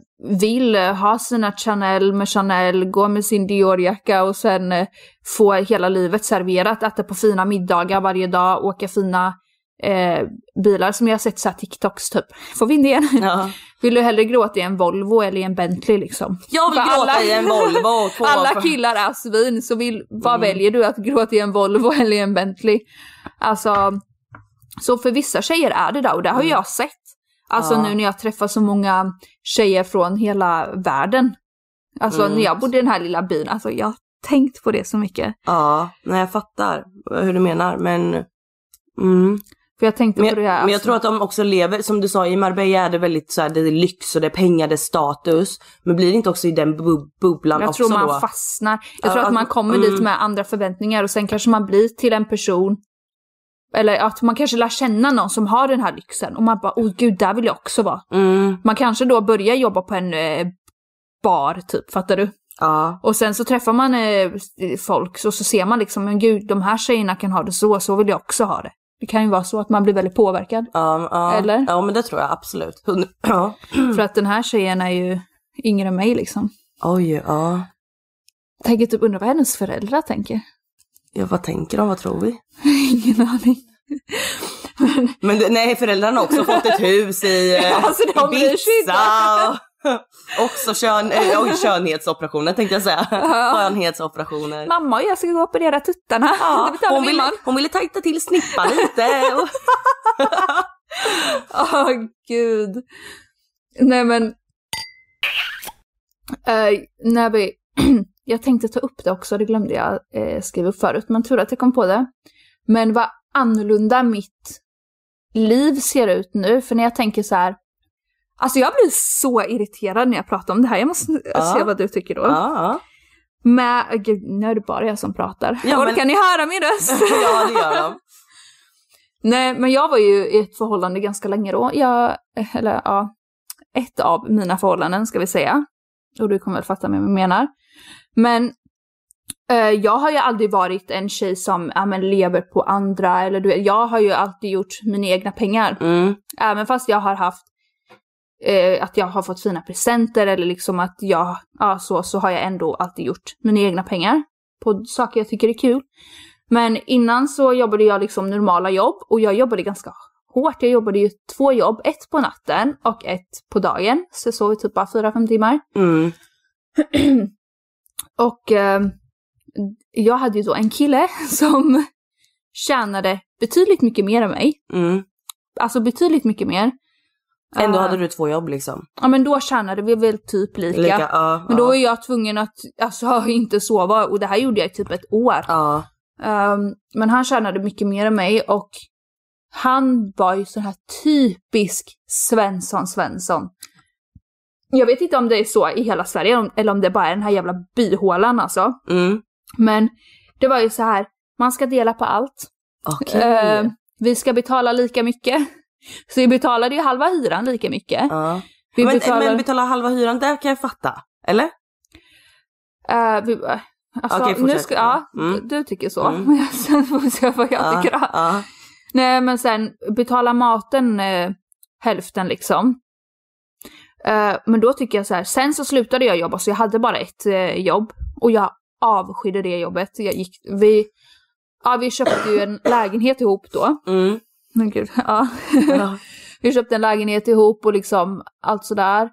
[SPEAKER 6] vill ha sina Chanel med Chanel, gå med sin Dior-jacka och sen eh, få hela livet serverat, äta på fina middagar varje dag, åka fina eh, bilar som jag har sett så här TikToks typ. Får vi in det igen?
[SPEAKER 7] Ja.
[SPEAKER 6] Vill du hellre gråta i en Volvo eller i en Bentley liksom?
[SPEAKER 7] Jag vill
[SPEAKER 6] För
[SPEAKER 7] gråta i en Volvo och Mm. få-
[SPEAKER 6] alla killar är svin, så vill, vad väljer du? Att gråta i en Volvo eller i en Bentley? Alltså, så för vissa tjejer är det där och det har ju jag sett. Alltså
[SPEAKER 7] Mm. Ja.
[SPEAKER 6] nu när jag träffar så många tjejer från hela världen. Alltså
[SPEAKER 7] Mm.
[SPEAKER 6] när jag bodde i den här lilla byn, alltså jag har tänkt på det så mycket.
[SPEAKER 7] Ja, nej jag fattar hur du menar men mm.
[SPEAKER 6] För jag tänkte
[SPEAKER 7] Men,
[SPEAKER 6] på
[SPEAKER 7] jag,
[SPEAKER 6] det här. alltså,
[SPEAKER 7] men jag tror att de också lever, som du sa i Marbella är det väldigt så här, det är lyx och det är pengar, det är status. Men blir det inte också i den bu- bubblan
[SPEAKER 6] jag
[SPEAKER 7] också
[SPEAKER 6] tror man
[SPEAKER 7] då?
[SPEAKER 6] fastnar. Jag
[SPEAKER 7] Ja,
[SPEAKER 6] tror att
[SPEAKER 7] att-
[SPEAKER 6] man kommer
[SPEAKER 7] mm.
[SPEAKER 6] dit med andra förväntningar och sen kanske man blir till en person eller att man kanske lär känna någon som har den här lyxen och man bara, åh gud, där vill jag också vara.
[SPEAKER 7] Mm,
[SPEAKER 6] Man kanske då börjar jobba på en eh, bar typ, fattar du?
[SPEAKER 7] ja.
[SPEAKER 6] Och sen så träffar man eh, folk och så, så ser man liksom, men gud, de här tjejerna kan ha det så, så vill jag också ha det. Det kan ju vara så att man blir väldigt påverkad.
[SPEAKER 7] Ja, ja.
[SPEAKER 6] Eller?
[SPEAKER 7] Ja men det tror jag absolut. Hund- Ja.
[SPEAKER 6] För att den här tjejen är ju yngre än mig liksom.
[SPEAKER 7] Oj, ja.
[SPEAKER 6] Tänker typ undra vad hennes föräldrar tänker.
[SPEAKER 7] ja. Vad tänker de, vad tror vi?
[SPEAKER 6] Ingen aning.
[SPEAKER 7] Men det, nej, föräldrarna har också fått ett hus i eh,
[SPEAKER 6] Ja, så de bryr sig inte.
[SPEAKER 7] Ibiza. och- Också kön, eh, oj, skönhetsoperationer tänkte jag säga. Skönhetsoperationer.
[SPEAKER 6] Mamma och jag ska gå och operera tuttarna.
[SPEAKER 7] Ja,
[SPEAKER 6] det betalar
[SPEAKER 7] hon,
[SPEAKER 6] vi
[SPEAKER 7] ville,
[SPEAKER 6] imorgon.
[SPEAKER 7] hon ville tajta till snippan lite. Och,
[SPEAKER 6] Åh gud. Nej men. Eh, när vi, jag tänkte ta upp det också, det glömde jag eh, skriva upp förut, men tur att jag kom på det. Men vad annorlunda mitt liv ser ut nu, för när jag tänker så här, alltså jag blir så irriterad när jag pratar om det här, jag måste
[SPEAKER 7] Ja.
[SPEAKER 6] se vad du tycker då.
[SPEAKER 7] ja,
[SPEAKER 6] Men, åh, gud, nu är det bara jag som pratar.
[SPEAKER 7] Ja, men-
[SPEAKER 6] Orkar ni höra min röst?
[SPEAKER 7] ja, det gör de.
[SPEAKER 6] Nej, men jag var ju i ett förhållande ganska länge då. Jag, eller ja, ett av mina förhållanden ska vi säga. Och du kommer väl fatta vad jag menar. Men eh, jag har ju aldrig varit en tjej som ja, men lever på andra. Eller du vet, jag har ju alltid gjort mina egna pengar.
[SPEAKER 7] Mm.
[SPEAKER 6] Även fast jag har haft eh, att jag har fått fina presenter eller liksom att jag, ja så, så har jag ändå alltid gjort mina egna pengar på saker jag tycker är kul. Men innan så jobbade jag liksom normala jobb och jag jobbade ganska hårt. Jag jobbade ju två jobb, ett på natten och ett på dagen. Så jag sov i typ bara fyra fem timmar.
[SPEAKER 7] Mm.
[SPEAKER 6] Och eh, jag hade ju då en kille som tjänade betydligt mycket mer än mig.
[SPEAKER 7] Mm.
[SPEAKER 6] Alltså betydligt mycket mer.
[SPEAKER 7] Ändå
[SPEAKER 6] Eh,
[SPEAKER 7] hade du två jobb liksom.
[SPEAKER 6] Ja men då tjänade vi väl typ lika.
[SPEAKER 7] Lika, ja,
[SPEAKER 6] men då
[SPEAKER 7] ja.
[SPEAKER 6] var jag tvungen att alltså, inte sova och det här gjorde jag i typ ett år.
[SPEAKER 7] Ja.
[SPEAKER 6] Ehm, men han tjänade mycket mer än mig och han var ju sån här typisk Svensson Svensson. Jag vet inte om det är så i hela Sverige om- eller om det bara är den här jävla byhålan alltså.
[SPEAKER 7] Mm.
[SPEAKER 6] Men det var ju så här, man ska dela på allt.
[SPEAKER 7] Okej.
[SPEAKER 6] Eh, vi ska betala lika mycket. Så vi betalade ju halva hyran lika mycket.
[SPEAKER 7] Ja.
[SPEAKER 6] Vi
[SPEAKER 7] men,
[SPEAKER 6] betalade...
[SPEAKER 7] men betala halva hyran, där kan jag fatta. Eller?
[SPEAKER 6] Eh, vi, eh, alltså,
[SPEAKER 7] Okej,
[SPEAKER 6] nu
[SPEAKER 7] fortsätt.
[SPEAKER 6] ska, ja,
[SPEAKER 7] Mm.
[SPEAKER 6] Du tycker så.
[SPEAKER 7] Mm.
[SPEAKER 6] Men sen får vi se vad jag
[SPEAKER 7] Ja,
[SPEAKER 6] tycker. då.
[SPEAKER 7] ja.
[SPEAKER 6] Nej men sen betala maten eh, hälften liksom. Eh, men då tycker jag så här, sen så slutade jag jobba så jag hade bara ett eh, jobb och jag avskydde det jobbet. Jag gick, vi, ja, vi köpte ju en lägenhet ihop då.
[SPEAKER 7] Mm.
[SPEAKER 6] Men gud, ja.
[SPEAKER 7] Ja.
[SPEAKER 6] vi köpte en lägenhet ihop och liksom allt sådär.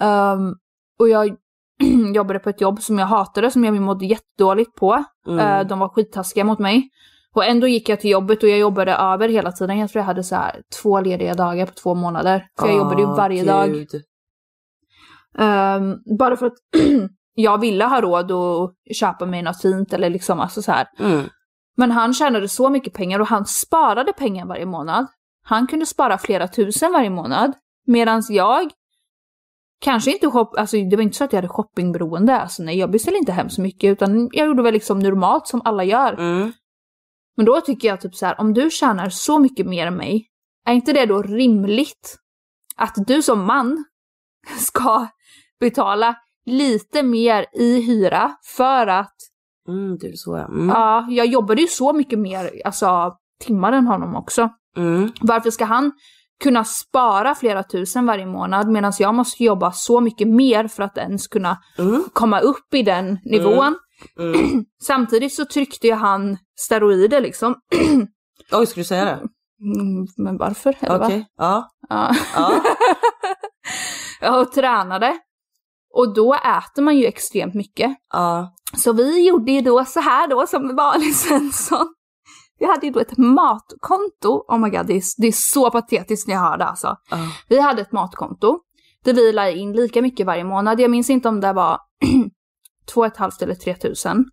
[SPEAKER 6] Ehm, och jag jobbade på ett jobb som jag hatade, som jag mådde jättedåligt på.
[SPEAKER 7] Mm.
[SPEAKER 6] Eh, de var skittaskiga mot mig. Och ändå gick jag till jobbet och jag jobbade över hela tiden. Jag tror jag hade så här två lediga dagar på två månader. För jag jobbade ju
[SPEAKER 7] Ah,
[SPEAKER 6] varje dag.
[SPEAKER 7] gud.
[SPEAKER 6] Ehm, bara för att jag ville ha råd att köpa mig något fint eller liksom alltså så här.
[SPEAKER 7] Mm.
[SPEAKER 6] Men han tjänade så mycket pengar och han sparade pengar varje månad. Han kunde spara flera tusen varje månad. Medan jag kanske inte shop- alltså det var inte så att jag hade shoppingberoende. Alltså nej, jag beställde inte hem så mycket utan jag gjorde väl liksom normalt som alla gör.
[SPEAKER 7] Mm.
[SPEAKER 6] Men då tycker jag typ så här, om du tjänar så mycket mer än mig, är inte det då rimligt att du som man ska betala lite mer i hyra för att,
[SPEAKER 7] Mm, du så ja. Mm.
[SPEAKER 6] ja, jag jobbade ju så mycket mer, alltså timmar än honom också.
[SPEAKER 7] Mm.
[SPEAKER 6] Varför ska han kunna spara flera tusen varje månad medan jag måste jobba så mycket mer för att ens kunna
[SPEAKER 7] Mm.
[SPEAKER 6] komma upp i den nivån?
[SPEAKER 7] Mm.
[SPEAKER 6] Samtidigt så tryckte ju han steroider liksom.
[SPEAKER 7] Oj, ska du säga det?
[SPEAKER 6] Mm, Men varför? Eller
[SPEAKER 7] Okej.
[SPEAKER 6] va?
[SPEAKER 7] Ja.
[SPEAKER 6] Ja.
[SPEAKER 7] ja.
[SPEAKER 6] Ja, och tränade. Och då äter man ju extremt mycket.
[SPEAKER 7] ja.
[SPEAKER 6] Så vi gjorde ju då så här då som vanlig Svensson. Vi hade ju då ett matkonto. Oh my god, det är, det är så patetiskt när jag hör det alltså.
[SPEAKER 7] ja.
[SPEAKER 6] Vi hade ett matkonto. Där vi la in lika mycket varje månad. Jag minns inte om det var 2,5 eller 3 tusen.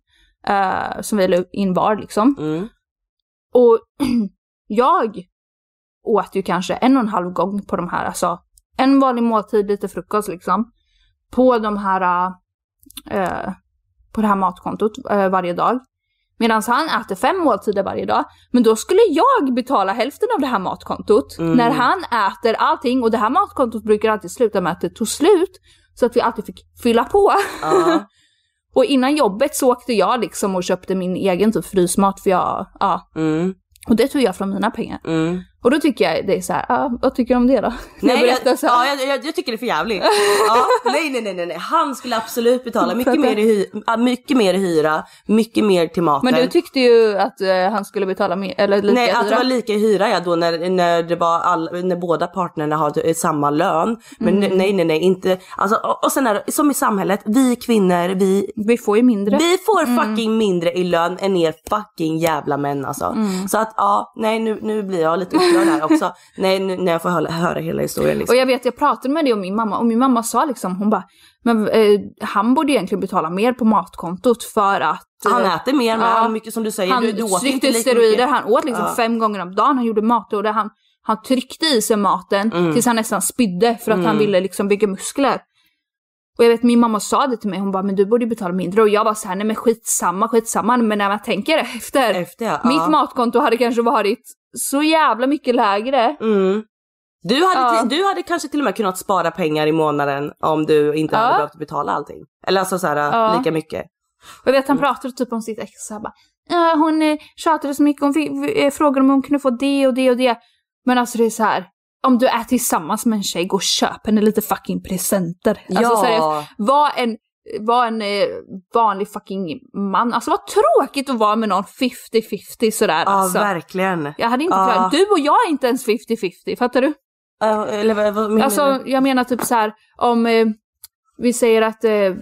[SPEAKER 6] eh, som vi la in var liksom.
[SPEAKER 7] Mm.
[SPEAKER 6] Och jag åt ju kanske en och en halv gång på de här, alltså en vanlig måltid, lite frukost liksom, på de här, eh, på det här matkontot eh, varje dag. Medan han äter fem måltider varje dag. Men då skulle jag betala hälften av det här matkontot.
[SPEAKER 7] Mm.
[SPEAKER 6] När han äter allting. Och det här matkontot brukar alltid sluta med att det tog slut. Så att vi alltid fick fylla på.
[SPEAKER 7] Ja.
[SPEAKER 6] Och innan jobbet så åkte jag liksom och köpte min egen typ frysmat för jag, ja,
[SPEAKER 7] Mm.
[SPEAKER 6] och det tog jag från mina pengar.
[SPEAKER 7] Mm.
[SPEAKER 6] Och då tycker jag det är så här, ja, vad tycker du om det då?
[SPEAKER 7] Nej,
[SPEAKER 6] jag berättar
[SPEAKER 7] jag,
[SPEAKER 6] så
[SPEAKER 7] ja,
[SPEAKER 6] här,
[SPEAKER 7] jag, jag, jag tycker det är för jävligt. Ja, nej, nej, nej, nej, nej. Han skulle absolut betala
[SPEAKER 6] För
[SPEAKER 7] mycket
[SPEAKER 6] att-
[SPEAKER 7] mer, i hy- ja, mycket mer i hyra, mycket mer till maten.
[SPEAKER 6] men du tyckte ju att eh, han skulle betala mer, eller lika
[SPEAKER 7] Nej, att det
[SPEAKER 6] hyra.
[SPEAKER 7] var lika i hyra ja, då när, när, det var all, när båda partnerna har eh, samma lön. Men
[SPEAKER 6] Mm.
[SPEAKER 7] nej, nej, nej, inte. Alltså, och, och sen är det som i samhället, vi kvinnor, vi
[SPEAKER 6] Vi får ju mindre. Mm.
[SPEAKER 7] vi får fucking mindre i lön än er fucking jävla män alltså.
[SPEAKER 6] Mm.
[SPEAKER 7] Så att ja, nej nu, nu blir jag lite upprörd här också. nej, nu, när jag får höra, höra hela historien
[SPEAKER 6] Och
[SPEAKER 7] liksom.
[SPEAKER 6] jag vet, jag pratade med det om min mamma och min mamma sa liksom, hon bara, men eh, han borde egentligen betala mer på matkontot för att eh,
[SPEAKER 7] Han äter mer men
[SPEAKER 6] Ja.
[SPEAKER 7] han, mycket som du säger,
[SPEAKER 6] han
[SPEAKER 7] du, du åt inte
[SPEAKER 6] tryckte
[SPEAKER 7] lika
[SPEAKER 6] steroider,
[SPEAKER 7] mycket.
[SPEAKER 6] han åt liksom
[SPEAKER 7] Ja.
[SPEAKER 6] fem gånger om dagen, han gjorde matlådor, han, han tryckte i sig maten
[SPEAKER 7] Mm.
[SPEAKER 6] tills han nästan spydde för att han ville liksom bygga muskler. Och jag vet min mamma sa det till mig, hon bara men du borde ju betala mindre och jag var så här nej men skitsamma, skitsamma men när man tänker efter.
[SPEAKER 7] Efter ja.
[SPEAKER 6] Mitt
[SPEAKER 7] ja.
[SPEAKER 6] matkonto hade kanske varit så jävla mycket lägre.
[SPEAKER 7] Mm. Du hade,
[SPEAKER 6] Ja.
[SPEAKER 7] ti- du hade kanske till och med kunnat spara pengar i månaden om du inte hade
[SPEAKER 6] Ja.
[SPEAKER 7] behövt betala allting. Eller alltså såhär
[SPEAKER 6] Ja.
[SPEAKER 7] lika mycket.
[SPEAKER 6] Och jag vet
[SPEAKER 7] Mm.
[SPEAKER 6] han pratade typ om sitt ex så här bara, "Ah, "Ja, hon eh, tjatade så mycket, hon fick, eh, frågade om hon kunde få det och det och det. Men alltså det är så här, om du är tillsammans med en tjej, gå och köp henne lite fucking presenter. Alltså
[SPEAKER 7] Ja.
[SPEAKER 6] seriöst, var en, var en eh, vanlig fucking man. Alltså vad tråkigt att vara med någon 50-50 sådär
[SPEAKER 7] Ja,
[SPEAKER 6] alltså.
[SPEAKER 7] verkligen.
[SPEAKER 6] Jag hade inte
[SPEAKER 7] Ja.
[SPEAKER 6] klarat, du och jag är inte ens 50-50, fattar du?
[SPEAKER 7] Ja, eller vad, vad menar
[SPEAKER 6] Alltså
[SPEAKER 7] du?
[SPEAKER 6] jag menar typ så här om eh, vi säger att eh,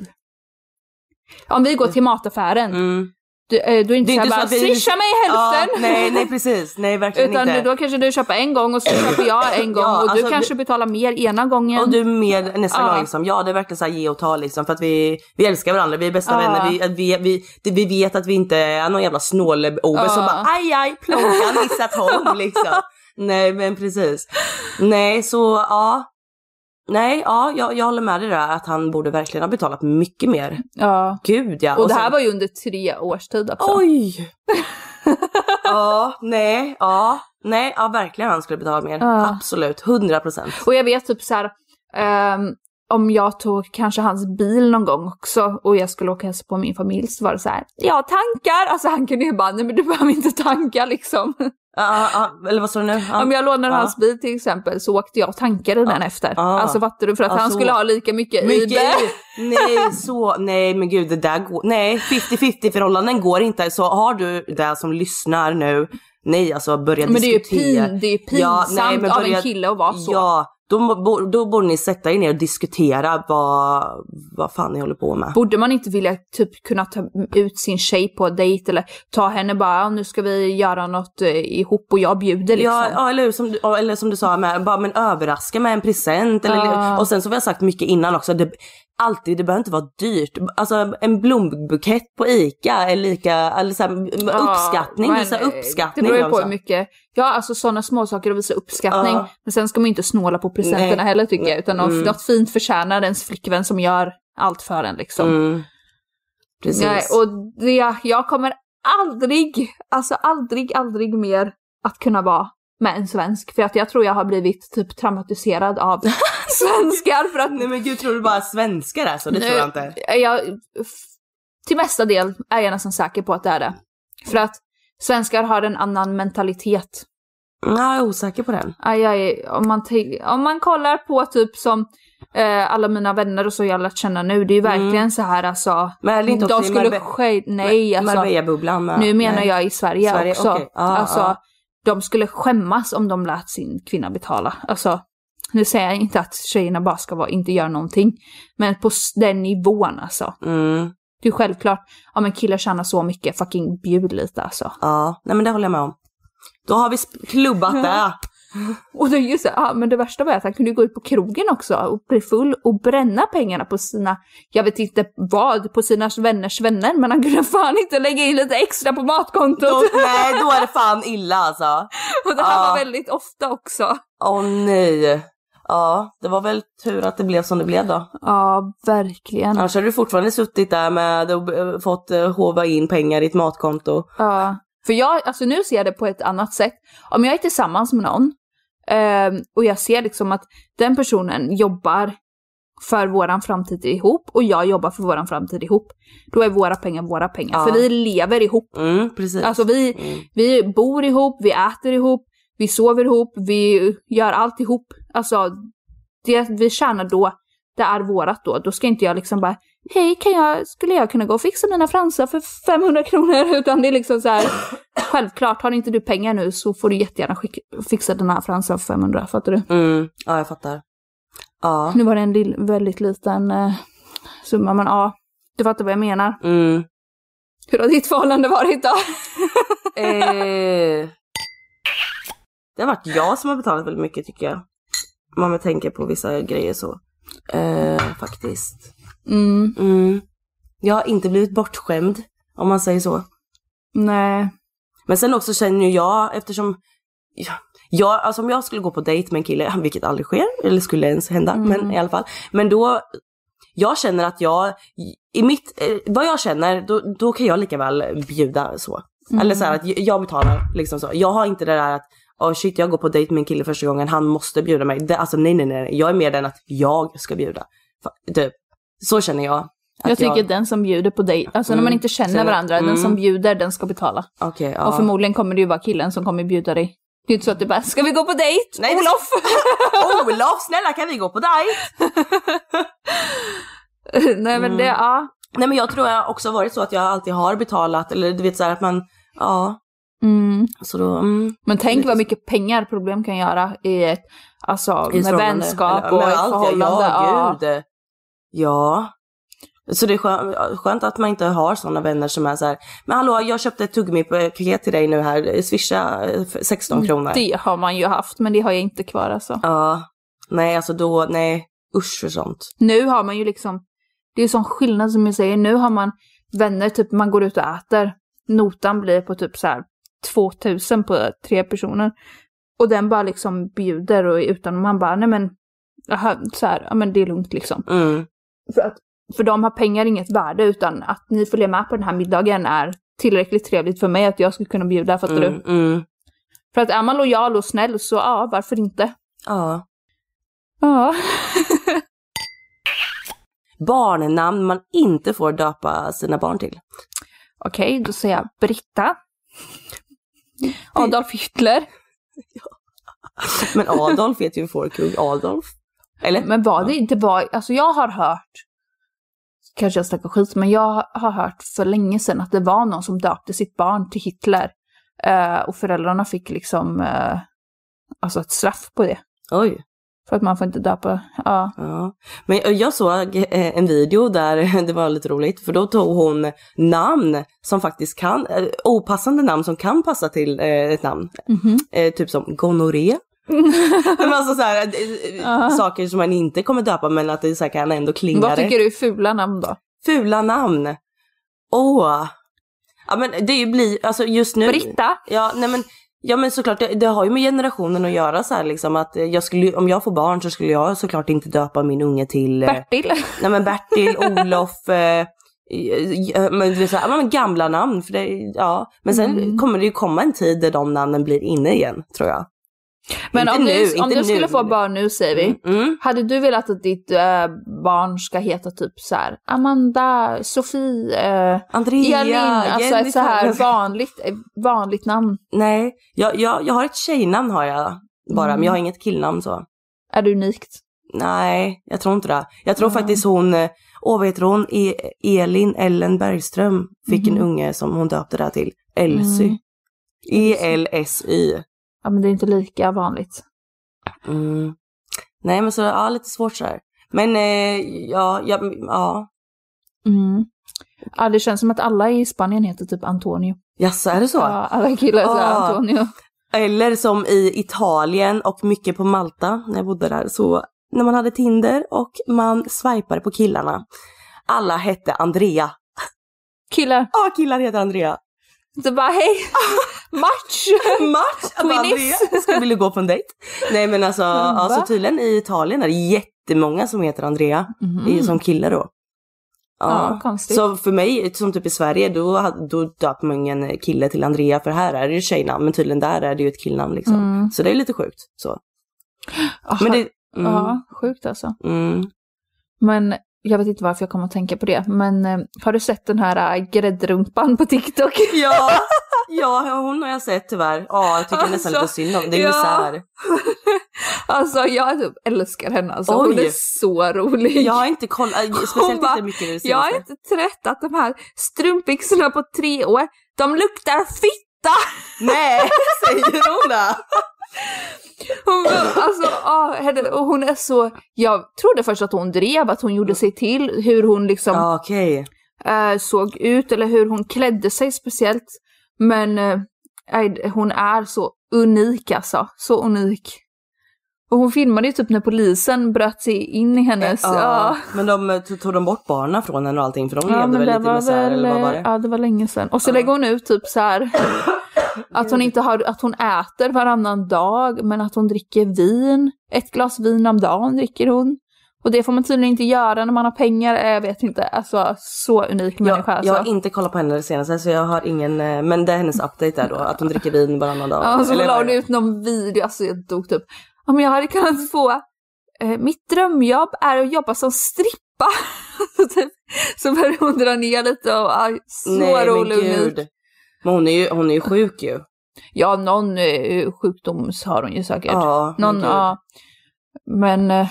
[SPEAKER 6] om vi går till mataffären,
[SPEAKER 7] Mm.
[SPEAKER 6] du, eh, du är inte,
[SPEAKER 7] Det är
[SPEAKER 6] så här
[SPEAKER 7] inte så
[SPEAKER 6] bara
[SPEAKER 7] att vi-
[SPEAKER 6] swisha mig i
[SPEAKER 7] Ja,
[SPEAKER 6] hälften!
[SPEAKER 7] nej, nej precis. Nej, verkligen
[SPEAKER 6] Utan
[SPEAKER 7] inte.
[SPEAKER 6] då kanske du köper en gång och så köper jag en gång
[SPEAKER 7] Ja,
[SPEAKER 6] och
[SPEAKER 7] alltså,
[SPEAKER 6] du kanske betalar mer ena gången.
[SPEAKER 7] Och du är med nästa
[SPEAKER 6] Ja.
[SPEAKER 7] gång liksom. Ja det är verkligen så här ge och ta liksom för att vi, vi älskar varandra, vi är bästa
[SPEAKER 6] Ja.
[SPEAKER 7] vänner, vi, att vi, vi, det, vi vet att vi inte är någon jävla snål-obe som
[SPEAKER 6] Ja.
[SPEAKER 7] bara aj aj plånkan missat håll liksom. Nej men precis. Nej så ja. Nej ja jag, jag håller med dig där att han borde verkligen ha betalat mycket mer.
[SPEAKER 6] Ja.
[SPEAKER 7] Gud ja.
[SPEAKER 6] Och, det här
[SPEAKER 7] sen-
[SPEAKER 6] var ju under tre års tid också.
[SPEAKER 7] Oj! ja, nej, ja, nej, ja verkligen han skulle betala mer.
[SPEAKER 6] Ja.
[SPEAKER 7] Absolut, 100 procent.
[SPEAKER 6] Och jag vet typ så här, ehm, om jag tog kanske hans bil någon gång också och jag skulle åka och hälsa på min familj så var det så här, ja tankar! Alltså han kunde ju bara, nej men du behöver inte tanka liksom.
[SPEAKER 7] Ja, ja, ja, eller vad sa du nu? Ja.
[SPEAKER 6] Om jag lånade
[SPEAKER 7] Ja.
[SPEAKER 6] hans bil till exempel så åkte jag och tankade den efter.
[SPEAKER 7] Ja.
[SPEAKER 6] Alltså fattar du? För att
[SPEAKER 7] Ja,
[SPEAKER 6] han
[SPEAKER 7] så.
[SPEAKER 6] skulle ha lika mycket,
[SPEAKER 7] Mycket
[SPEAKER 6] i det.
[SPEAKER 7] i. Nej, så, nej men gud det där går, nej 50-50 förhållanden går inte. Så har du det som lyssnar nu, nej alltså börja
[SPEAKER 6] Men det är ju
[SPEAKER 7] diskutera.
[SPEAKER 6] pin- det är ju pinsamt av en kille att vara så.
[SPEAKER 7] Ja, då, må- då borde ni sätta er ner och diskutera vad, vad fan ni håller på med.
[SPEAKER 6] Borde man inte vilja typ kunna ta ut sin tjej på dejt eller ta henne bara, "Ja, nu ska vi göra något eh, ihop och jag bjuder liksom.
[SPEAKER 7] Ja, ja eller, hur, som, du- ja, eller som du sa, med, bara men överraska med en present. Eller,
[SPEAKER 6] Ja.
[SPEAKER 7] Och sen så har jag sagt mycket innan också, det, alltid, det behöver inte vara dyrt. Alltså en blombukett på ICA är lika, eller så här, uppskattning,
[SPEAKER 6] men,
[SPEAKER 7] visa
[SPEAKER 6] eh,
[SPEAKER 7] uppskattning.
[SPEAKER 6] Det beror ju på
[SPEAKER 7] också.
[SPEAKER 6] hur mycket. Ja, alltså sådana små saker att visa uppskattning.
[SPEAKER 7] Ja.
[SPEAKER 6] Men sen ska man ju inte snåla på presenterna
[SPEAKER 7] Nej.
[SPEAKER 6] heller tycker jag. Utan något,
[SPEAKER 7] Mm.
[SPEAKER 6] något fint förtjänar ens flickvän som gör allt för en liksom.
[SPEAKER 7] Mm. Precis.
[SPEAKER 6] Nej, och det, jag kommer aldrig, alltså aldrig, aldrig mer att kunna vara med en svensk. För att jag tror jag har blivit typ traumatiserad av svenskar. För att
[SPEAKER 7] Nej men gud, tror du bara svenskar är så? Det tror jag inte.
[SPEAKER 6] är Jag, f- till mesta del är jag nästan säker på att det är det. För att svenskar har en annan mentalitet.
[SPEAKER 7] Ja, jag är osäker på den.
[SPEAKER 6] Aj, aj, om, man te- om man kollar på typ som eh, alla mina vänner och så jag har lärt känna nu, det är ju verkligen så här alltså.
[SPEAKER 7] Mm. Men är det inte också
[SPEAKER 6] de
[SPEAKER 7] i
[SPEAKER 6] skulle
[SPEAKER 7] Marbe-
[SPEAKER 6] ske- nej alltså.
[SPEAKER 7] Marbella-bubblan med-
[SPEAKER 6] nu menar
[SPEAKER 7] nej.
[SPEAKER 6] jag i Sverige,
[SPEAKER 7] Sverige,
[SPEAKER 6] också.
[SPEAKER 7] okej. Ja,
[SPEAKER 6] alltså,
[SPEAKER 7] ja.
[SPEAKER 6] de skulle skämmas om de lät sin kvinna betala. Alltså, nu säger jag inte att tjejerna bara ska vara, inte göra någonting, men på s- den nivån alltså.
[SPEAKER 7] Mm.
[SPEAKER 6] Det är självklart, ja men killar tjänar så mycket, fucking bjud lite alltså.
[SPEAKER 7] Ja, nej men det håller jag med om. Då har vi sp- klubbat det.
[SPEAKER 6] Och då just det, ja, men det värsta var att han kunde gå ut på krogen också och bli full och bränna pengarna på sina, jag vet inte vad, på sina vänners vänner, men han kunde fan inte lägga in lite extra på matkontot.
[SPEAKER 7] Då, nej, då är det fan illa alltså.
[SPEAKER 6] och det här
[SPEAKER 7] ja.
[SPEAKER 6] var väldigt ofta också.
[SPEAKER 7] Åh nej. Ja, det var väl tur att det blev som det blev då.
[SPEAKER 6] Ja, verkligen.
[SPEAKER 7] Annars hade du fortfarande suttit där med och fått eh, håva in pengar i ett matkonto.
[SPEAKER 6] Ja. För jag, alltså nu ser jag det på ett annat sätt. Om jag är tillsammans med någon ehm, och jag ser liksom att den personen jobbar för våran framtid ihop och jag jobbar för våran framtid ihop, då är våra pengar våra pengar.
[SPEAKER 7] Ja.
[SPEAKER 6] För vi lever ihop.
[SPEAKER 7] Mm, precis.
[SPEAKER 6] Alltså vi,
[SPEAKER 7] Mm.
[SPEAKER 6] vi bor ihop, vi äter ihop, vi sover ihop, vi gör allt ihop. Alltså det vi tjänar då, det är vårat då. Då ska inte jag liksom bara, hej kan jag, skulle jag kunna gå och fixa mina fransar för 500 kronor? Utan det är liksom så här, självklart har inte du pengar nu så får du jättegärna skick, fixa den här fransen för 500, fattar du?
[SPEAKER 7] Mm, ja, jag fattar. Ja.
[SPEAKER 6] Nu var det en lill, väldigt liten eh, summa, men ja, du fattar vad jag menar.
[SPEAKER 7] Mm.
[SPEAKER 6] Hur har ditt förhållande varit då?
[SPEAKER 7] Eh. Det har varit jag som har betalat väldigt mycket tycker jag. Om man tänker på vissa grejer så. Eh, faktiskt.
[SPEAKER 6] Mm,
[SPEAKER 7] Mm. Jag har inte blivit bortskämd, om man säger så.
[SPEAKER 6] nej.
[SPEAKER 7] Men sen också känner ju jag, eftersom ja, jag, alltså om jag skulle gå på dejt med en kille, vilket aldrig sker, eller skulle ens hända,
[SPEAKER 6] Mm.
[SPEAKER 7] men i alla fall. Men då, jag känner att jag, i mitt, eh, vad jag känner, då, då kan jag lika väl bjuda så. Eller så här
[SPEAKER 6] Mm.
[SPEAKER 7] att jag- jag betalar liksom så. Jag har inte det där att, oh shit jag går på dejt med en kille första gången, han måste bjuda mig. Det, alltså nej nej nej, jag är mer den att jag ska bjuda. Fa- Typ. Så känner jag. att
[SPEAKER 6] Jag tycker den som bjuder på dig, alltså när man
[SPEAKER 7] Mm,
[SPEAKER 6] inte känner
[SPEAKER 7] känner-
[SPEAKER 6] varandra, den
[SPEAKER 7] mm.
[SPEAKER 6] som bjuder den ska betala.
[SPEAKER 7] Okej,
[SPEAKER 6] Och förmodligen kommer det ju vara killen som kommer bjuda dig. Det är inte så att du bara, ska vi gå på dejt?
[SPEAKER 7] Nej, det-
[SPEAKER 6] Olof!
[SPEAKER 7] Olof, snälla kan vi gå på dejt?
[SPEAKER 6] Nej men det,
[SPEAKER 7] Mm.
[SPEAKER 6] ja.
[SPEAKER 7] Nej men jag tror jag också har varit så att jag alltid har betalat, eller du vet så här att man, ja.
[SPEAKER 6] Mm.
[SPEAKER 7] Så då, mm.
[SPEAKER 6] Men tänk vad mycket pengar problem kan göra i ett, alltså
[SPEAKER 7] I
[SPEAKER 6] med
[SPEAKER 7] ett förhållande.
[SPEAKER 6] vänskap
[SPEAKER 7] Eller-
[SPEAKER 6] och
[SPEAKER 7] men
[SPEAKER 6] ett
[SPEAKER 7] allt, ja,
[SPEAKER 6] förhållande.
[SPEAKER 7] Ja, gud. Ja. Så det är skö- skönt att man inte har sådana vänner som är så här, men hallå jag köpte ett tuggummi-paket till dig nu här, swisha eh, för 16 kronor.
[SPEAKER 6] Mm, Det har man ju haft, men det har jag inte kvar alltså.
[SPEAKER 7] Ja. Nej alltså då, nej, usch för sånt.
[SPEAKER 6] Nu har man ju liksom, det är ju sån skillnad som jag säger, nu har man vänner, typ man går ut och äter. Notan blir på typ så här 2000 på tre personer. Och den bara liksom bjuder och utan man bara, nej men, aha, så här, ja men det är lugnt liksom.
[SPEAKER 7] Mm.
[SPEAKER 6] För, att, för de har pengar inget värde utan att ni följer med på den här middagen är tillräckligt trevligt för mig att jag skulle kunna bjuda, fattar
[SPEAKER 7] Mm,
[SPEAKER 6] du?
[SPEAKER 7] mm.
[SPEAKER 6] För att är man lojal och snäll så ja, varför inte?
[SPEAKER 7] Ja.
[SPEAKER 6] Ja.
[SPEAKER 7] Barnnamn man inte får döpa sina barn till.
[SPEAKER 6] Okej, då säger jag Britta. Adolf Hitler.
[SPEAKER 7] Men Adolf heter ju fårkung Adolf. Eller?
[SPEAKER 6] Men var det inte bara, alltså jag har hört, kanske jag snackar skit, men jag har hört för länge sedan att det var någon som döpte sitt barn till Hitler. Eh, och föräldrarna fick liksom, eh, alltså ett straff på det.
[SPEAKER 7] Oj.
[SPEAKER 6] För att man får inte döpa, ja.
[SPEAKER 7] Ja. Men jag såg eh, en video där det var lite roligt för då tog hon namn som faktiskt kan, eh, opassande namn som kan passa till eh, ett namn.
[SPEAKER 6] Mhm.
[SPEAKER 7] Eh, Typ som gonorré. Men alltså så här, eh, eh, saker som man inte kommer döpa men att det så här kan ändå klinga
[SPEAKER 6] Vad
[SPEAKER 7] rätt.
[SPEAKER 6] tycker du är fula namn då?
[SPEAKER 7] Fula namn. Åh. Ja men det blir, alltså just nu.
[SPEAKER 6] Britta?
[SPEAKER 7] Ja, nej men, ja men såklart, det, det har ju med generationen att göra så här liksom att eh, jag skulle, om jag får barn så skulle jag såklart inte döpa min unge till eh,
[SPEAKER 6] Bertil?
[SPEAKER 7] Nej men Bertil, Olof, eh, eh, men du vet så här, ja, men gamla namn. För det, ja. Men sen
[SPEAKER 6] Mm.
[SPEAKER 7] kommer det ju komma en tid där de namnen blir inne igen tror jag.
[SPEAKER 6] Men
[SPEAKER 7] Inte
[SPEAKER 6] om
[SPEAKER 7] nu,
[SPEAKER 6] du, om
[SPEAKER 7] inte
[SPEAKER 6] du skulle
[SPEAKER 7] nu.
[SPEAKER 6] få barn nu säger vi,
[SPEAKER 7] Mm.
[SPEAKER 6] hade du velat att ditt eh, barn ska heta typ så här Amanda, Sofie, eh,
[SPEAKER 7] Andrea,
[SPEAKER 6] Elin, alltså ett så här vanligt, eh, vanligt namn.
[SPEAKER 7] Nej, jag, jag, jag har ett tjejnamn har jag bara, men
[SPEAKER 6] Mm.
[SPEAKER 7] jag har inget killnamn så.
[SPEAKER 6] Är det unikt?
[SPEAKER 7] Nej, jag tror inte det. Jag tror faktiskt hon, eh, åh vad heter hon, e- Elin Ellen Bergström fick en unge som hon döpte det här till, Elsy. E-L-S-Y.
[SPEAKER 6] Ja men det är inte lika vanligt.
[SPEAKER 7] Mm. Nej men så, ja lite svårt sådär. Men eh, ja, ja, ja.
[SPEAKER 6] Mm. Ja det känns som att alla i Spanien heter typ Antonio.
[SPEAKER 7] Jaså är det så?
[SPEAKER 6] Ja, alla killar heter
[SPEAKER 7] Ah.
[SPEAKER 6] Antonio.
[SPEAKER 7] Eller som i Italien och mycket på Malta när jag bodde där. Så när man hade Tinder och man swipade på killarna. Alla hette Andrea.
[SPEAKER 6] Killar,
[SPEAKER 7] Ja, killar heter Andrea.
[SPEAKER 6] det bara hej, match!
[SPEAKER 7] Match! Jag bara,
[SPEAKER 6] Queenies.
[SPEAKER 7] Andrea, ska vilja gå på en dejt? Nej men alltså, alltså tydligen i Italien är det jättemånga som heter Andrea. Det är Som killar då.
[SPEAKER 6] Mhm. Ja, konstigt.
[SPEAKER 7] Så för mig, som typ i Sverige, då, hade- då döper man ingen kille till Andrea för här är det ju tjejnamn men tydligen där är det ju ett killnamn liksom.
[SPEAKER 6] Mm.
[SPEAKER 7] Så det är lite sjukt. Så. Men det, mm,
[SPEAKER 6] Ja, sjukt alltså.
[SPEAKER 7] mm,
[SPEAKER 6] Men jag vet inte varför jag kommer att tänka på det. Men eh, har du sett den här äh, gräddrumpan på TikTok?
[SPEAKER 7] ja, ja, hon har jag sett tyvärr. Ja, jag tycker nästan lite
[SPEAKER 6] Alltså,
[SPEAKER 7] synd om Det är
[SPEAKER 6] ja.
[SPEAKER 7] misär.
[SPEAKER 6] Alltså jag typ älskar henne alltså. Hon
[SPEAKER 7] Oj.
[SPEAKER 6] är så rolig.
[SPEAKER 7] Jag har inte kollat,
[SPEAKER 6] Hon
[SPEAKER 7] speciellt
[SPEAKER 6] bara,
[SPEAKER 7] inte mycket nu
[SPEAKER 6] Jag
[SPEAKER 7] senaste.
[SPEAKER 6] har inte tröttat de här strumpbyxorna på tre år. De luktar fitta!
[SPEAKER 7] Nej, säger hon det?
[SPEAKER 6] Hon, var- alltså, ah, henne, och hon är så... Jag trodde först att hon drev, att hon gjorde sig till, hur hon liksom
[SPEAKER 7] Ja, okej.
[SPEAKER 6] eh, såg ut eller hur hon klädde sig speciellt. Men eh, nej, hon är så unik alltså, så unik. Och hon filmade ju typ när polisen bröt sig in i hennes...
[SPEAKER 7] Ja.
[SPEAKER 6] ja.
[SPEAKER 7] Men de eh, tog tog de bort barnen från henne och allting för de levde väl
[SPEAKER 6] det eh,
[SPEAKER 7] lite i misär eller vad var det?
[SPEAKER 6] Ja, det var länge sedan. Och så lägger hon ut typ så här att hon inte har, att hon äter varannan dag, men att hon dricker vin. Ett glas vin om dagen dricker hon. Och det får man tydligen inte göra när man har pengar. Eh, Jag vet inte, alltså så unik
[SPEAKER 7] Jag,
[SPEAKER 6] människa alltså.
[SPEAKER 7] jag har inte kollat på henne det senaste så jag har ingen, eh, men det är hennes update där då, att hon dricker vin varannan dag.
[SPEAKER 6] Ja, och så
[SPEAKER 7] Eller
[SPEAKER 6] la
[SPEAKER 7] vad
[SPEAKER 6] hon
[SPEAKER 7] är det?
[SPEAKER 6] ut någon video, alltså jag dog typ. Ja, men jag hade kunnat få, eh, mitt drömjobb är att jobba som strippa. Typ. så började hon dra ner lite och, aj, så
[SPEAKER 7] Nej, men
[SPEAKER 6] rolig och unik.
[SPEAKER 7] gud. Men hon är ju, hon är ju sjuk ju.
[SPEAKER 6] Ja, någon eh, sjukdom har hon ju säkert.
[SPEAKER 7] Ja,
[SPEAKER 6] någon,
[SPEAKER 7] gud.
[SPEAKER 6] ja. Men eh,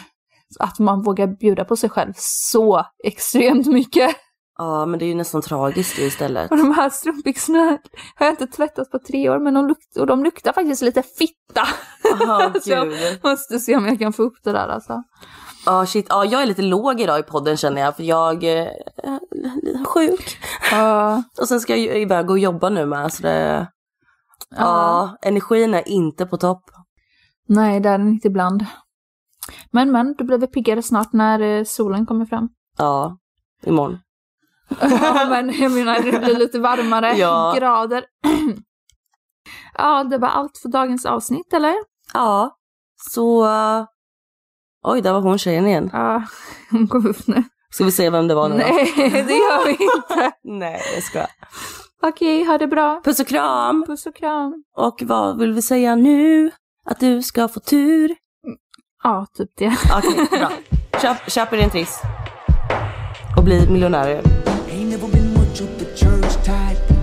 [SPEAKER 6] att man vågar bjuda på sig själv så extremt mycket.
[SPEAKER 7] Ja, men det är ju nästan tragiskt ju istället.
[SPEAKER 6] Och de här strumpbyxorna har jag inte tvättat på tre år, men de, luk- och de luktar faktiskt lite fitta.
[SPEAKER 7] Ja,
[SPEAKER 6] Så jag
[SPEAKER 7] gud.
[SPEAKER 6] måste se om jag kan få upp det där alltså.
[SPEAKER 7] Ja, shit. Ja, jag är lite låg idag i podden känner jag, för jag eh, är sjuk.
[SPEAKER 6] Ja,
[SPEAKER 7] Och sen ska jag ju börja gå och jobba nu med, så det... Ja, energin är inte på topp.
[SPEAKER 6] nej, det är den inte ibland. Men men, du blir väl piggare snart när eh, solen kommer fram.
[SPEAKER 7] Ja, imorgon.
[SPEAKER 6] Ja, men jag menar det blir lite varmare
[SPEAKER 7] Ja.
[SPEAKER 6] grader. ja, det var allt för dagens avsnitt eller?
[SPEAKER 7] Ja, så... eh, Oj, där var hon tjejen igen.
[SPEAKER 6] Ja, hon kom upp nu.
[SPEAKER 7] Ska vi se vem det var nu då?
[SPEAKER 6] Nej, det gör vi inte.
[SPEAKER 7] Nej, jag skojar.
[SPEAKER 6] Okej, ha det bra.
[SPEAKER 7] Puss och kram!
[SPEAKER 6] Puss och kram.
[SPEAKER 7] Och vad vill vi säga nu? Att du ska få tur.
[SPEAKER 6] Ja, typ det.
[SPEAKER 7] Okej, bra. Köp, köp er en triss. Och bli miljonärer.
[SPEAKER 8] Ain't never been much of the church type,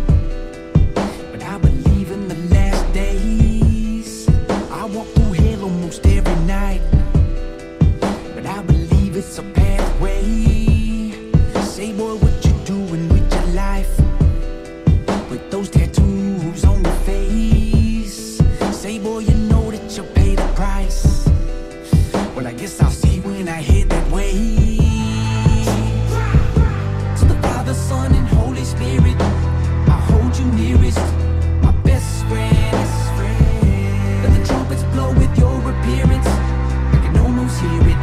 [SPEAKER 8] but I believe in the last days. I walk through hell almost every night, but I believe it's a pathway. Say, boy, what you doing with your life? With those tattoos on your face, say, boy, you know that you pay the price. Well, I guess I'll see when I hit that way. To the Father, Son, and Holy Spirit, I hold you nearest, my best friend. Let the trumpets blow with your appearance. I can almost hear it,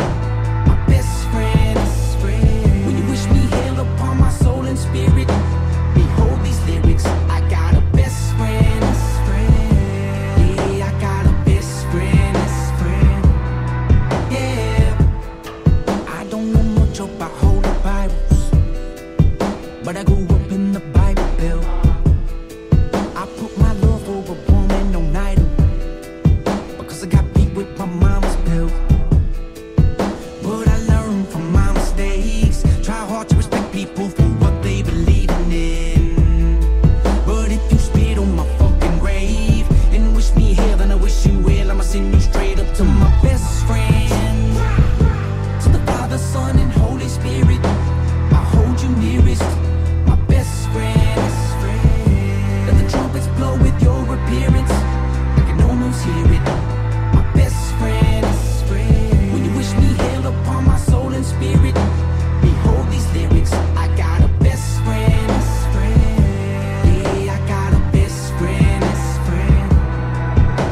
[SPEAKER 8] my best friend. Will you wish me hail upon my soul and spirit? Behold these lyrics, I got a best friend. Yeah, I got a best friend. Yeah, I don't know much about holy Bibles. But I grew up in the Bible Belt. I put my love for a woman on idle. Because I got beat with my mama's pill. But I learned from my mistakes. Try hard to respect people for what they believe in. But if you spit on my fucking grave and wish me hell, then I wish you well. I'ma send you straight up to my best friend to the Father, Son, and Holy Spirit. I hold you nearest, my best friend. Let the trumpets blow with your appearance. I can almost hear it, my best friend. When you wish me hail upon my soul and spirit, behold these lyrics. I got a best friend. Yeah, I got a best friend.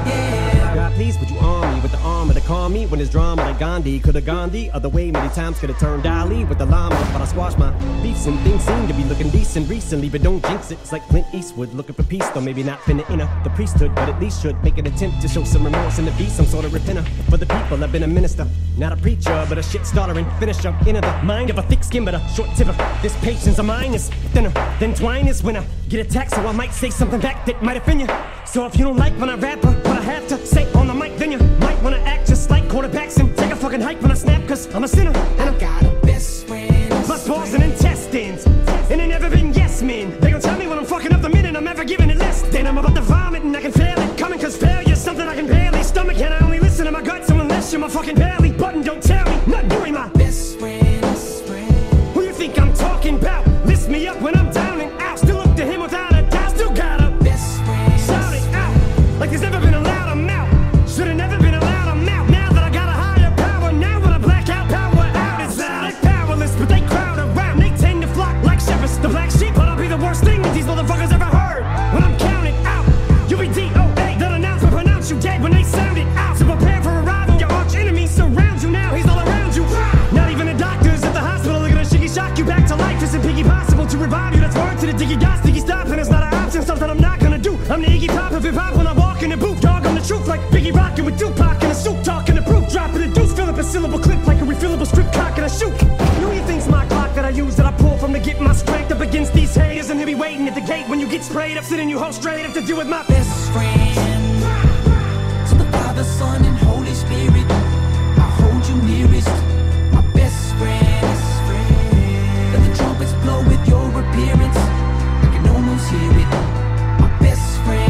[SPEAKER 8] Yeah.
[SPEAKER 5] God, please, would you arm me with the armor to calm me when it's drama like Gandhi? Could have gone the other way many times, could have turned Ali with the llamas, but I squashed my beefs and things seem to be looking decent recently, but don't jinx it. It's like Clint Eastwood looking for peace, though maybe not finna enter the priesthood, but at least should make an attempt to show some remorse and to be some sort of repenter. For the people, I've been a minister, not a preacher, but a shit starter and finisher. Inner the mind of a thick skin, but a short tipper. This patience of mine is thinner than twine is when I get attacked, so I might say something back that might offend you. So if you don't like when I rap, uh, what I have to say on the mic, then you might wanna act just like quarterbacks and take a fucking hike when I snap, cause I'm a sinner. And
[SPEAKER 8] I
[SPEAKER 5] I'm
[SPEAKER 8] got a best friend.
[SPEAKER 5] plus balls and intestines. And they never been yes men. They gon' tell me when I'm fucking up the minute I'm ever giving it less than I'm about to vomit and I can feel it coming cause failure's something I can barely stomach. And I only listen to my gut, so unless you're my fucking belly button, don't tell me nothing you ain't my
[SPEAKER 8] Best friend.
[SPEAKER 5] Who you think I'm talking about? Lift me up when I'm down and out. Still look to him without a doubt. Still gotta
[SPEAKER 8] Best friend.
[SPEAKER 5] shout it out like there's never been a louder mouth. Should've never been a louder mouth. Now that I got a higher power, now when I black out, power out is out. They're powerless, but they crowd around. They tend to flock like shepherds. The black sheep, but I'll be the worst thing that these motherfuckers ever heard. When I'm counted out, you'll be DOA. They'll announce or pronounce you dead when they sound it out. So prepare for a rival. Your arch enemy surrounds you now. He's all around you. Not even a doctor's at the hospital. They're gonna shiggy shock you back to life. It's impiggy possible to revive you. That's word to the diggy dots. Diggy stop, and it's not an option. Something I'm not gonna do. I'm the Iggy Pop of hip hop when I walk in the booth. Dog, I'm the truth like Biggie rockin' with Tupac in a suit. Talking the proof, dropping the deuce. Fill up a syllable clip like a refillable strip cock and I shoot. Know you think's my clock that I use that I pull from to get my strength up against these haters. And they be waiting at the gate when you get sprayed up, sitting you hold straight up to deal with my best.
[SPEAKER 8] best friend. To the Father, Son, and Holy Spirit, I hold you nearest, my best friend. Let the trumpets blow with your appearance. I can almost hear it, my best friend.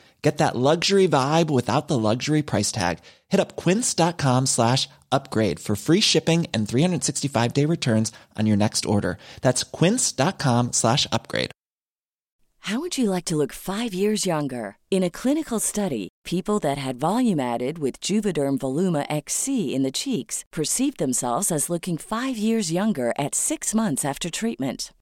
[SPEAKER 9] Get that luxury vibe without the luxury price tag. Hit up quince.com slash upgrade for free shipping and 365 day returns on your next order. That's quince.com slash upgrade.
[SPEAKER 10] How would you like to look five years younger? In a clinical study, people that had volume added with Juvederm Voluma XC in the cheeks perceived themselves as looking five years younger at six months after treatment.